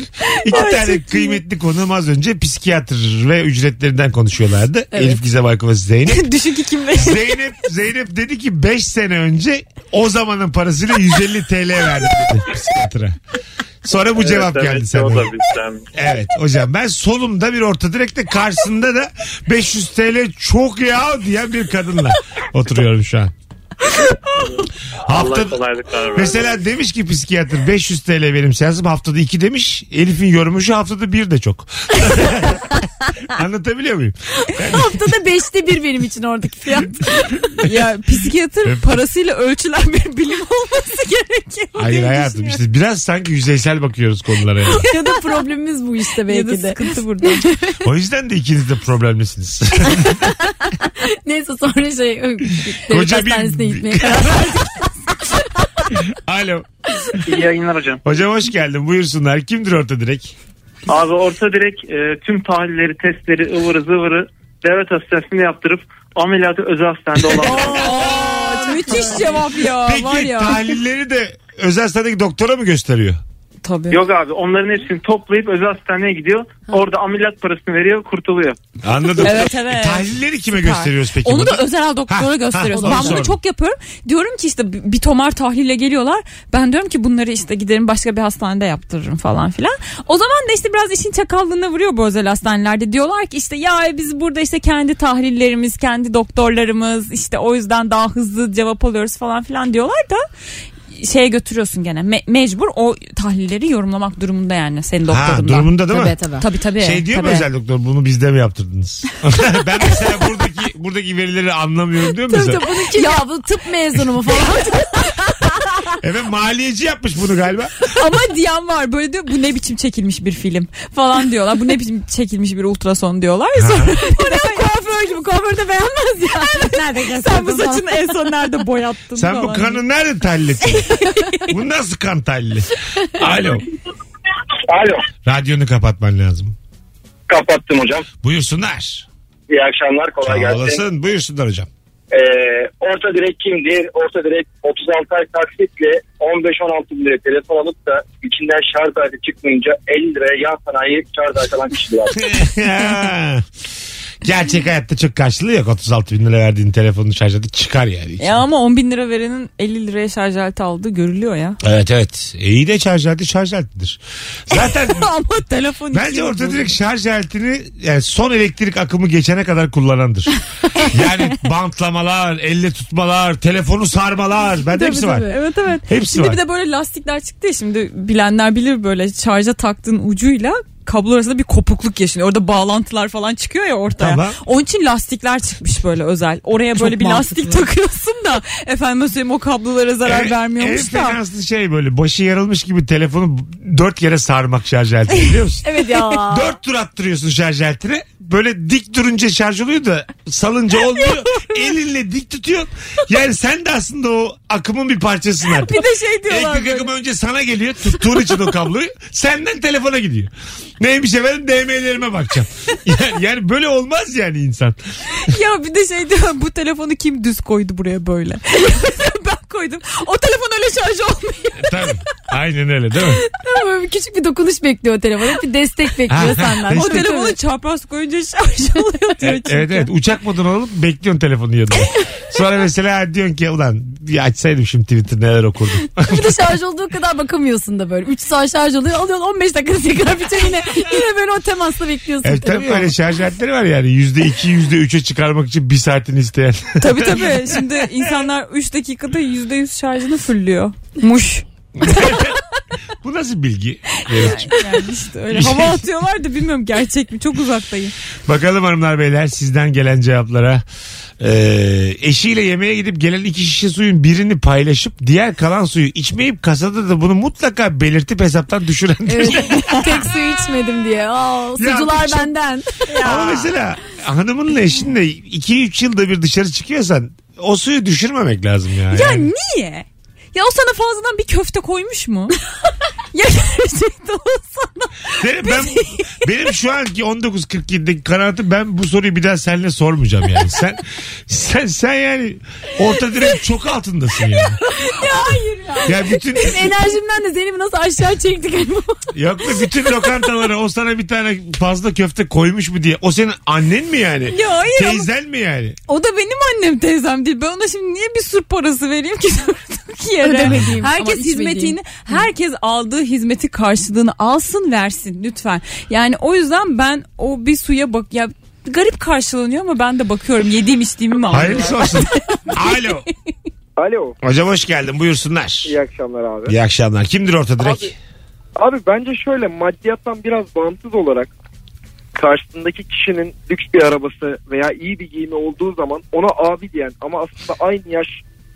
S3: İki tane kıymetli konuğum az önce psikiyatr ve ücretlerinden konuşuyorlardı. Elif Gizem Aykul ve Zeynep.
S4: Düşün ki kim verir.
S3: Zeynep Zeynep dedi ki 5 sene önce o zamanın parasıyla 150 TL verdim dedi psikiyatra. Sonra bu cevap
S6: Evet,
S3: geldi
S6: demek ki o da
S3: sana.
S6: bizden.
S3: Evet hocam ben solumda bir orta direkte karşısında da 500 TL çok ya diyen bir kadınla oturuyorum şu an.
S6: Allah
S3: Hafta,
S6: kolaylıklar versin.
S3: mesela demiş ki psikiyatr 500 TL benim seansım haftada 2 demiş. Elif'in yorumu şu haftada 1 de çok. Anlatabiliyor muyum?
S5: Haftada beşte bir benim için oradaki fiyat.
S4: Ya psikiyatr parasıyla ölçülen bir bilim olması gerekiyor.
S3: Hayır
S4: diye
S3: hayatım
S4: düşünüyorum.
S3: işte biraz sanki yüzeysel bakıyoruz konulara. yani.
S5: ya da problemimiz bu işte
S4: Ya da
S5: belki de.
S4: sıkıntı burada.
S3: O yüzden de ikiniz de problemlisiniz.
S5: Neyse sonra şey devlet
S3: Koca bir-
S5: hastanesine gitmeye karar
S3: Alo.
S6: İyi yayınlar hocam.
S3: Hocam hoş geldin. Buyursunlar. Kimdir orta direk?
S6: Abi orta direkt e, tüm tahlilleri, testleri, ıvırı zıvırı devlet hastanesinde yaptırıp ameliyatı özel hastanede olan.
S4: Aa, müthiş cevap ya. var
S3: Peki
S4: ya.
S3: tahlilleri de özel hastanedeki doktora mı gösteriyor?
S4: Tabii.
S6: Yok abi onların hepsini toplayıp özel hastaneye gidiyor. Orada ameliyat parasını veriyor, kurtuluyor.
S3: Anladım.
S4: Evet, evet.
S3: E, tahlilleri kime
S4: Süper.
S3: gösteriyoruz peki?
S4: Onu da
S3: burada?
S4: özel
S3: Ha, ha,
S4: doktora gösteriyoruz.
S3: onu
S4: Ben
S3: sordum.
S4: bunu çok yapıyorum. Diyorum ki işte bir tomar tahlile geliyorlar. Ben diyorum ki bunları işte giderim başka bir hastanede yaptırırım falan filan. O zaman da işte biraz işin çakallığına vuruyor bu özel hastanelerde. Diyorlar ki işte ya biz burada işte kendi tahlillerimiz, kendi doktorlarımız işte o yüzden daha hızlı cevap alıyoruz falan filan diyorlar da şeye götürüyorsun gene. Me- mecbur o tahlilleri yorumlamak durumunda yani senin
S3: ha,
S4: doktorundan.
S3: durumunda değil mi?
S5: tabii tabii.
S4: Tabii tabii.
S3: Şey diyor mu
S4: tabii.
S3: özel doktor bunu bizde mi yaptırdınız? ben mesela buradaki buradaki verileri anlamıyorum diyor mu
S5: Tabii
S3: mesela?
S5: tabii bunu kim ya bu tıp mezunu mu falan.
S3: Efendim maliyeci yapmış bunu galiba.
S4: Ama diyen var böyle diyor bu ne biçim çekilmiş bir film falan diyorlar. Bu ne biçim çekilmiş bir ultrason diyorlar. Sonra bu ne kuaför gibi kuaför de beğenmez ya.
S5: Nerede
S4: Sen bu saçını en son nerede boyattın
S3: Sen bu
S4: falan.
S3: kanı nerede terlettin? bu nasıl kan telli? Alo.
S9: Alo.
S3: Radyonu kapatman lazım.
S9: Kapattım hocam.
S3: Buyursunlar.
S9: İyi akşamlar. Kolay
S3: Sağ
S9: gelsin.
S3: olasın. Buyursunlar hocam.
S9: Ee, orta direk kimdir? Orta direk 36 ay taksitle 15-16 bin liraya telefon alıp da içinden şarj aleti çıkmayınca 50 liraya yan sanayi şarj aleti alan kişidir abi.
S3: Gerçek hayatta çok karşılığı yok. 36 bin lira verdiğin telefonu şarj edip çıkar yani.
S4: Ya ama 10 bin lira verenin 50 liraya şarj aleti aldığı görülüyor ya.
S3: Evet evet. E, iyi de şarj aleti şarj aletidir. Zaten
S4: ama telefon
S3: bence
S4: içinde
S3: orta
S4: bozuldu.
S3: direkt şarj aletini yani son elektrik akımı geçene kadar kullanandır. yani bantlamalar, elle tutmalar, telefonu sarmalar. Bende
S4: Tabii,
S3: hepsi
S4: tabii.
S3: var.
S4: Evet evet.
S3: Hepsi
S4: şimdi
S3: var.
S4: bir de böyle lastikler çıktı ya şimdi bilenler bilir böyle şarja taktığın ucuyla kablo arasında bir kopukluk yaşanıyor. Orada bağlantılar falan çıkıyor ya ortaya.
S3: Tamam.
S4: Onun için lastikler çıkmış böyle özel. Oraya böyle bir lastik takıyorsun da efendim söyleyeyim o kablolara zarar
S3: En-
S4: vermiyormuş
S3: E, en
S4: da.
S3: fenası şey böyle başı yarılmış gibi telefonu dört yere sarmak şarj aleti biliyor musun?
S5: Evet ya.
S3: Dört tur attırıyorsun şarj aletine. Böyle dik durunca şarj oluyor da salınca olmuyor. Elinle dik tutuyor. Yani sen de aslında o akımın bir parçasısın artık.
S4: Bir de şey diyorlar.
S3: Elektrik
S4: böyle.
S3: akımı önce sana geliyor. Tuttuğun için o kabloyu. Senden telefona gidiyor. Neymiş efendim DM'lerime bakacağım. Yani, yani böyle olmaz yani insan.
S4: Ya bir de şey diyor bu telefonu kim düz koydu buraya böyle. ben koydum. O telefon öyle şarj olmuyor.
S3: Tabii. Aynen öyle değil mi? E,
S5: Böyle bir küçük bir dokunuş bekliyor telefon. Hep bir destek bekliyor senden.
S4: o telefonu çapraz koyunca şarj oluyor diyor.
S3: Evet evet, evet. uçak moduna alıp bekliyorsun telefonu yanına. Sonra mesela diyorsun ki ulan bir açsaydım şimdi Twitter neler okurdum.
S5: Bir de şarj olduğu kadar bakamıyorsun da böyle. 3 saat şarj oluyor. Alıyorsun 15 dakika tekrar bitiyor yine. Yine böyle o temasla bekliyorsun.
S3: Evet E, tabii hani-
S5: telefonu.
S3: öyle şarj aletleri var yani. Yüzde iki, yüzde üçe çıkarmak için bir saatini isteyen.
S4: Tabii tabii. Şimdi insanlar 3 dakikada %100 şarjını fullüyor. Muş.
S3: Bu nasıl bilgi? Evet.
S4: Yani işte öyle hava atıyorlar da bilmiyorum gerçek mi. Çok uzaktayım.
S3: Bakalım hanımlar beyler sizden gelen cevaplara. Ee, eşiyle yemeğe gidip gelen iki şişe suyun birini paylaşıp diğer kalan suyu içmeyip kasada da bunu mutlaka belirtip hesaptan düşüren.
S5: Evet. Tek su içmedim diye. Aa,
S3: Ya
S5: sucular
S3: bu çok-
S5: benden.
S3: Ama mesela hanımınla eşinle 2-3 yılda bir dışarı çıkıyorsan o suyu düşürmemek lazım ya.
S4: Ya
S3: Yani
S4: niye? Ya o sana fazladan bir köfte koymuş mu? ya gerçekten o sana.
S3: Benim, ben, benim şu anki 19.47'deki kanaatim ben bu soruyu bir daha seninle sormayacağım yani. Sen sen sen yani orta direkt çok altındasın yani. hayır ya. Ya bütün
S5: Enerjimden de Zeynep'i nasıl aşağı çektik.
S3: yok mu bütün lokantalara o sana bir tane fazla köfte koymuş mu diye. O senin annen mi yani?
S4: Ya hayır ama-
S3: Teyzen mi yani?
S4: O da benim annem teyzem değil. Ben ona şimdi niye bir sur parası vereyim ki durduk yere?
S5: Ödemediğim ama
S4: Herkes
S5: içmediğim.
S4: hizmetini, herkes aldığı hizmeti karşılığını alsın versin lütfen. Yani o yüzden ben o bir suya bak ya garip karşılanıyor ama ben de bakıyorum yediğim içtiğimi mi alıyorum?
S3: Hayırlısı olsun. Alo.
S7: Alo.
S3: Hocam hoş geldin buyursunlar.
S7: İyi akşamlar abi.
S3: İyi akşamlar. Kimdir orta direkt?
S7: Abi, abi bence şöyle maddiyattan biraz bağımsız olarak karşısındaki kişinin lüks bir arabası veya iyi bir giyimi olduğu zaman ona abi diyen ama aslında aynı yaş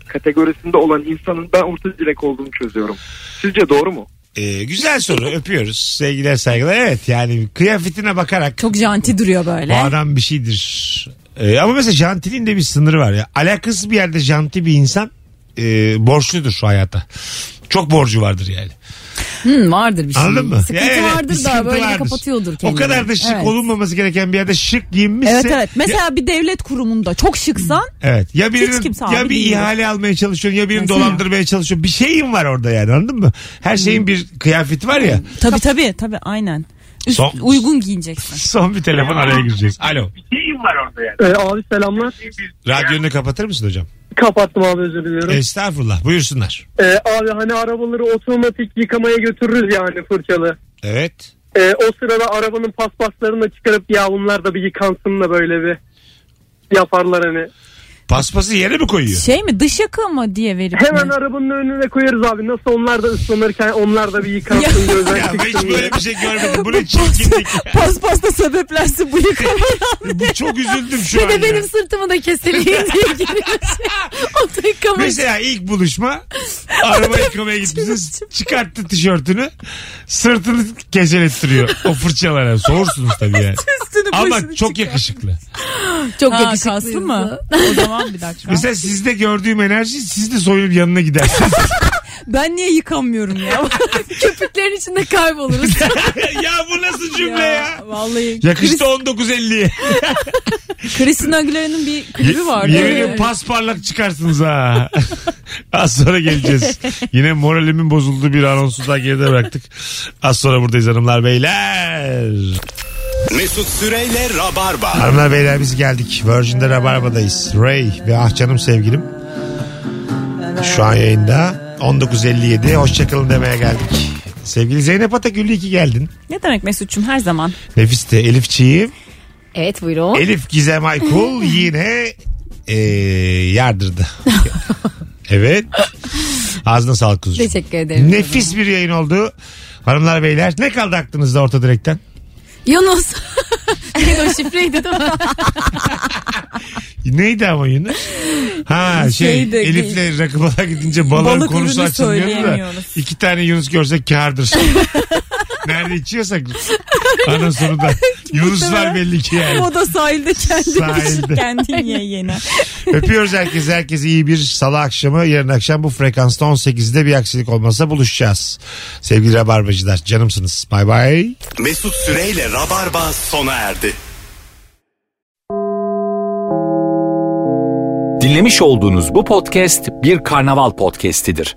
S7: kategorisinde olan insanın ben orta direk olduğunu çözüyorum. Sizce doğru mu?
S3: Ee, güzel soru. Öpüyoruz. Sevgiler saygılar. Evet yani kıyafetine bakarak
S4: Çok janti duruyor
S3: Bu
S4: böyle.
S3: adam bir şeydir. Ee, ama mesela jantilin de bir sınırı var ya. Alakasız bir yerde janti bir insan e, borçludur şu hayata. Çok borcu vardır yani.
S5: Hmm, vardır bir şey.
S3: Anladın mı?
S5: Sıkıntı
S3: Ya evet, bir
S5: vardır
S3: sıkıntı
S5: da böyle
S3: vardır.
S5: kapatıyordur kendini.
S3: O kadar da şık
S5: Evet.
S3: olunmaması gereken bir yerde şık giyinmişse.
S4: Evet evet.
S3: Ya, Hmm.
S4: Mesela bir devlet kurumunda çok şıksan
S3: evet. Ya birinin
S4: kimse abi
S3: ya bir
S4: değil.
S3: ihale almaya çalışıyorsun ya birini dolandırmaya çalışıyorsun. Bir şeyin var orada yani anladın mı? Her
S5: Hmm.
S3: şeyin bir kıyafeti var ya.
S4: tabii tabii tabii aynen. Üst-
S3: Son-
S4: uygun giyineceksin.
S3: Son bir telefon araya girecek. Alo.
S7: E, abi selamlar.
S3: Radyonu kapatır mısın hocam?
S7: Kapattım abi özür
S3: E,
S7: diliyorum.
S3: Estağfurullah. Buyursunlar.
S7: abi hani arabaları otomatik yıkamaya götürürüz yani fırçalı.
S3: Evet.
S7: Ee, o sırada arabanın paspaslarını da çıkarıp ya bunlar da bir yıkansın da böyle bir yaparlar hani.
S3: Paspası yere mi koyuyor?
S4: Şey mi dış yakı mı diye verip
S9: Hemen
S4: mi?
S9: arabanın önüne koyarız abi. Nasıl onlar da ıslanırken onlar da bir yıkansın
S4: Ya.
S9: gözden
S3: Ya ben hiç
S9: çıksın diye.
S3: böyle bir şey görmedim. Bu ne çirkinlik.
S4: Paspasta sebeplensin bu yıkamaya.
S3: Bu çok üzüldüm şu
S5: Bir
S3: an. ya.
S5: de benim sırtımı da keseleyim diye giriyorsun. o da yıkamış.
S3: Mesela ilk buluşma araba yıkamaya gitmişsiniz. Çıkarttı tişörtünü. Sırtını keselettiriyor o fırçalara. Soğursunuz tabii yani.
S4: Üstünü
S3: Ama
S4: başını
S3: çok
S4: çıkar.
S3: yakışıklı.
S5: Çok
S4: Ha,
S5: yakışıklıydı.
S4: kaslı mı? o zaman bir dakika.
S3: Mesela sizde gördüğüm enerji siz de soyunup yanına gidersiniz.
S4: Ben niye yıkamıyorum ya?
S5: Köpüklerin içinde kayboluruz.
S3: ya bu nasıl cümle ya?
S4: Vallahi.
S3: Yakıştı 19.50'ye.
S4: Christina Aguilera'nın bir klibi vardı.
S3: Yemin ediyorum
S4: Evet.
S3: pasparlak çıkarsınız ha. Az sonra geleceğiz. Yine moralimin bozulduğu bir anonsu daha geride bıraktık. Az sonra buradayız hanımlar beyler.
S2: Mesut Süreyle Rabarba.
S3: Hanımlar beyler biz geldik. Virgin'de Rabarba'dayız. Ray ve ah canım sevgilim. Şu an yayında. 19.57 hoşçakalın demeye geldik. Sevgili Zeynep Atakül iyi ki geldin.
S4: Ne demek Mesut'cum her zaman.
S3: Nefisti Elif Çiğim.
S5: evet buyurun.
S3: Elif Gizem Aykul yine e, yardırdı. evet. Ağzına sağlık kuzucuğum.
S5: Teşekkür ederim.
S3: Nefis bir yayın oldu. Hanımlar beyler ne kaldı aklınızda orta direkten?
S5: Yunus. Neydi o şifreydi değil mi?
S3: Neydi ama yine? Ha şey
S4: Şeydi,
S3: Elif'le rakıbalar gidince balığın
S4: Balık
S3: konusu
S4: ürünü
S3: açılmıyor da
S4: söyleyemiyoruz.
S3: iki tane Yunus görsek kârdır. Nerede içiyorsak ana sonunda. Yunus var belli ki yani.
S4: O da sahilde kendi
S3: Sahilde.
S4: kendi ye yene.
S3: Öpüyoruz herkese. Herkese iyi bir salı akşamı. Yarın akşam bu frekansta 18'de bir aksilik olmasa buluşacağız. Sevgili Rabarbacılar canımsınız. Bay bay.
S2: Mesut Süreyle Rabarba sona erdi.
S1: Dinlemiş olduğunuz bu podcast bir karnaval podcastidir.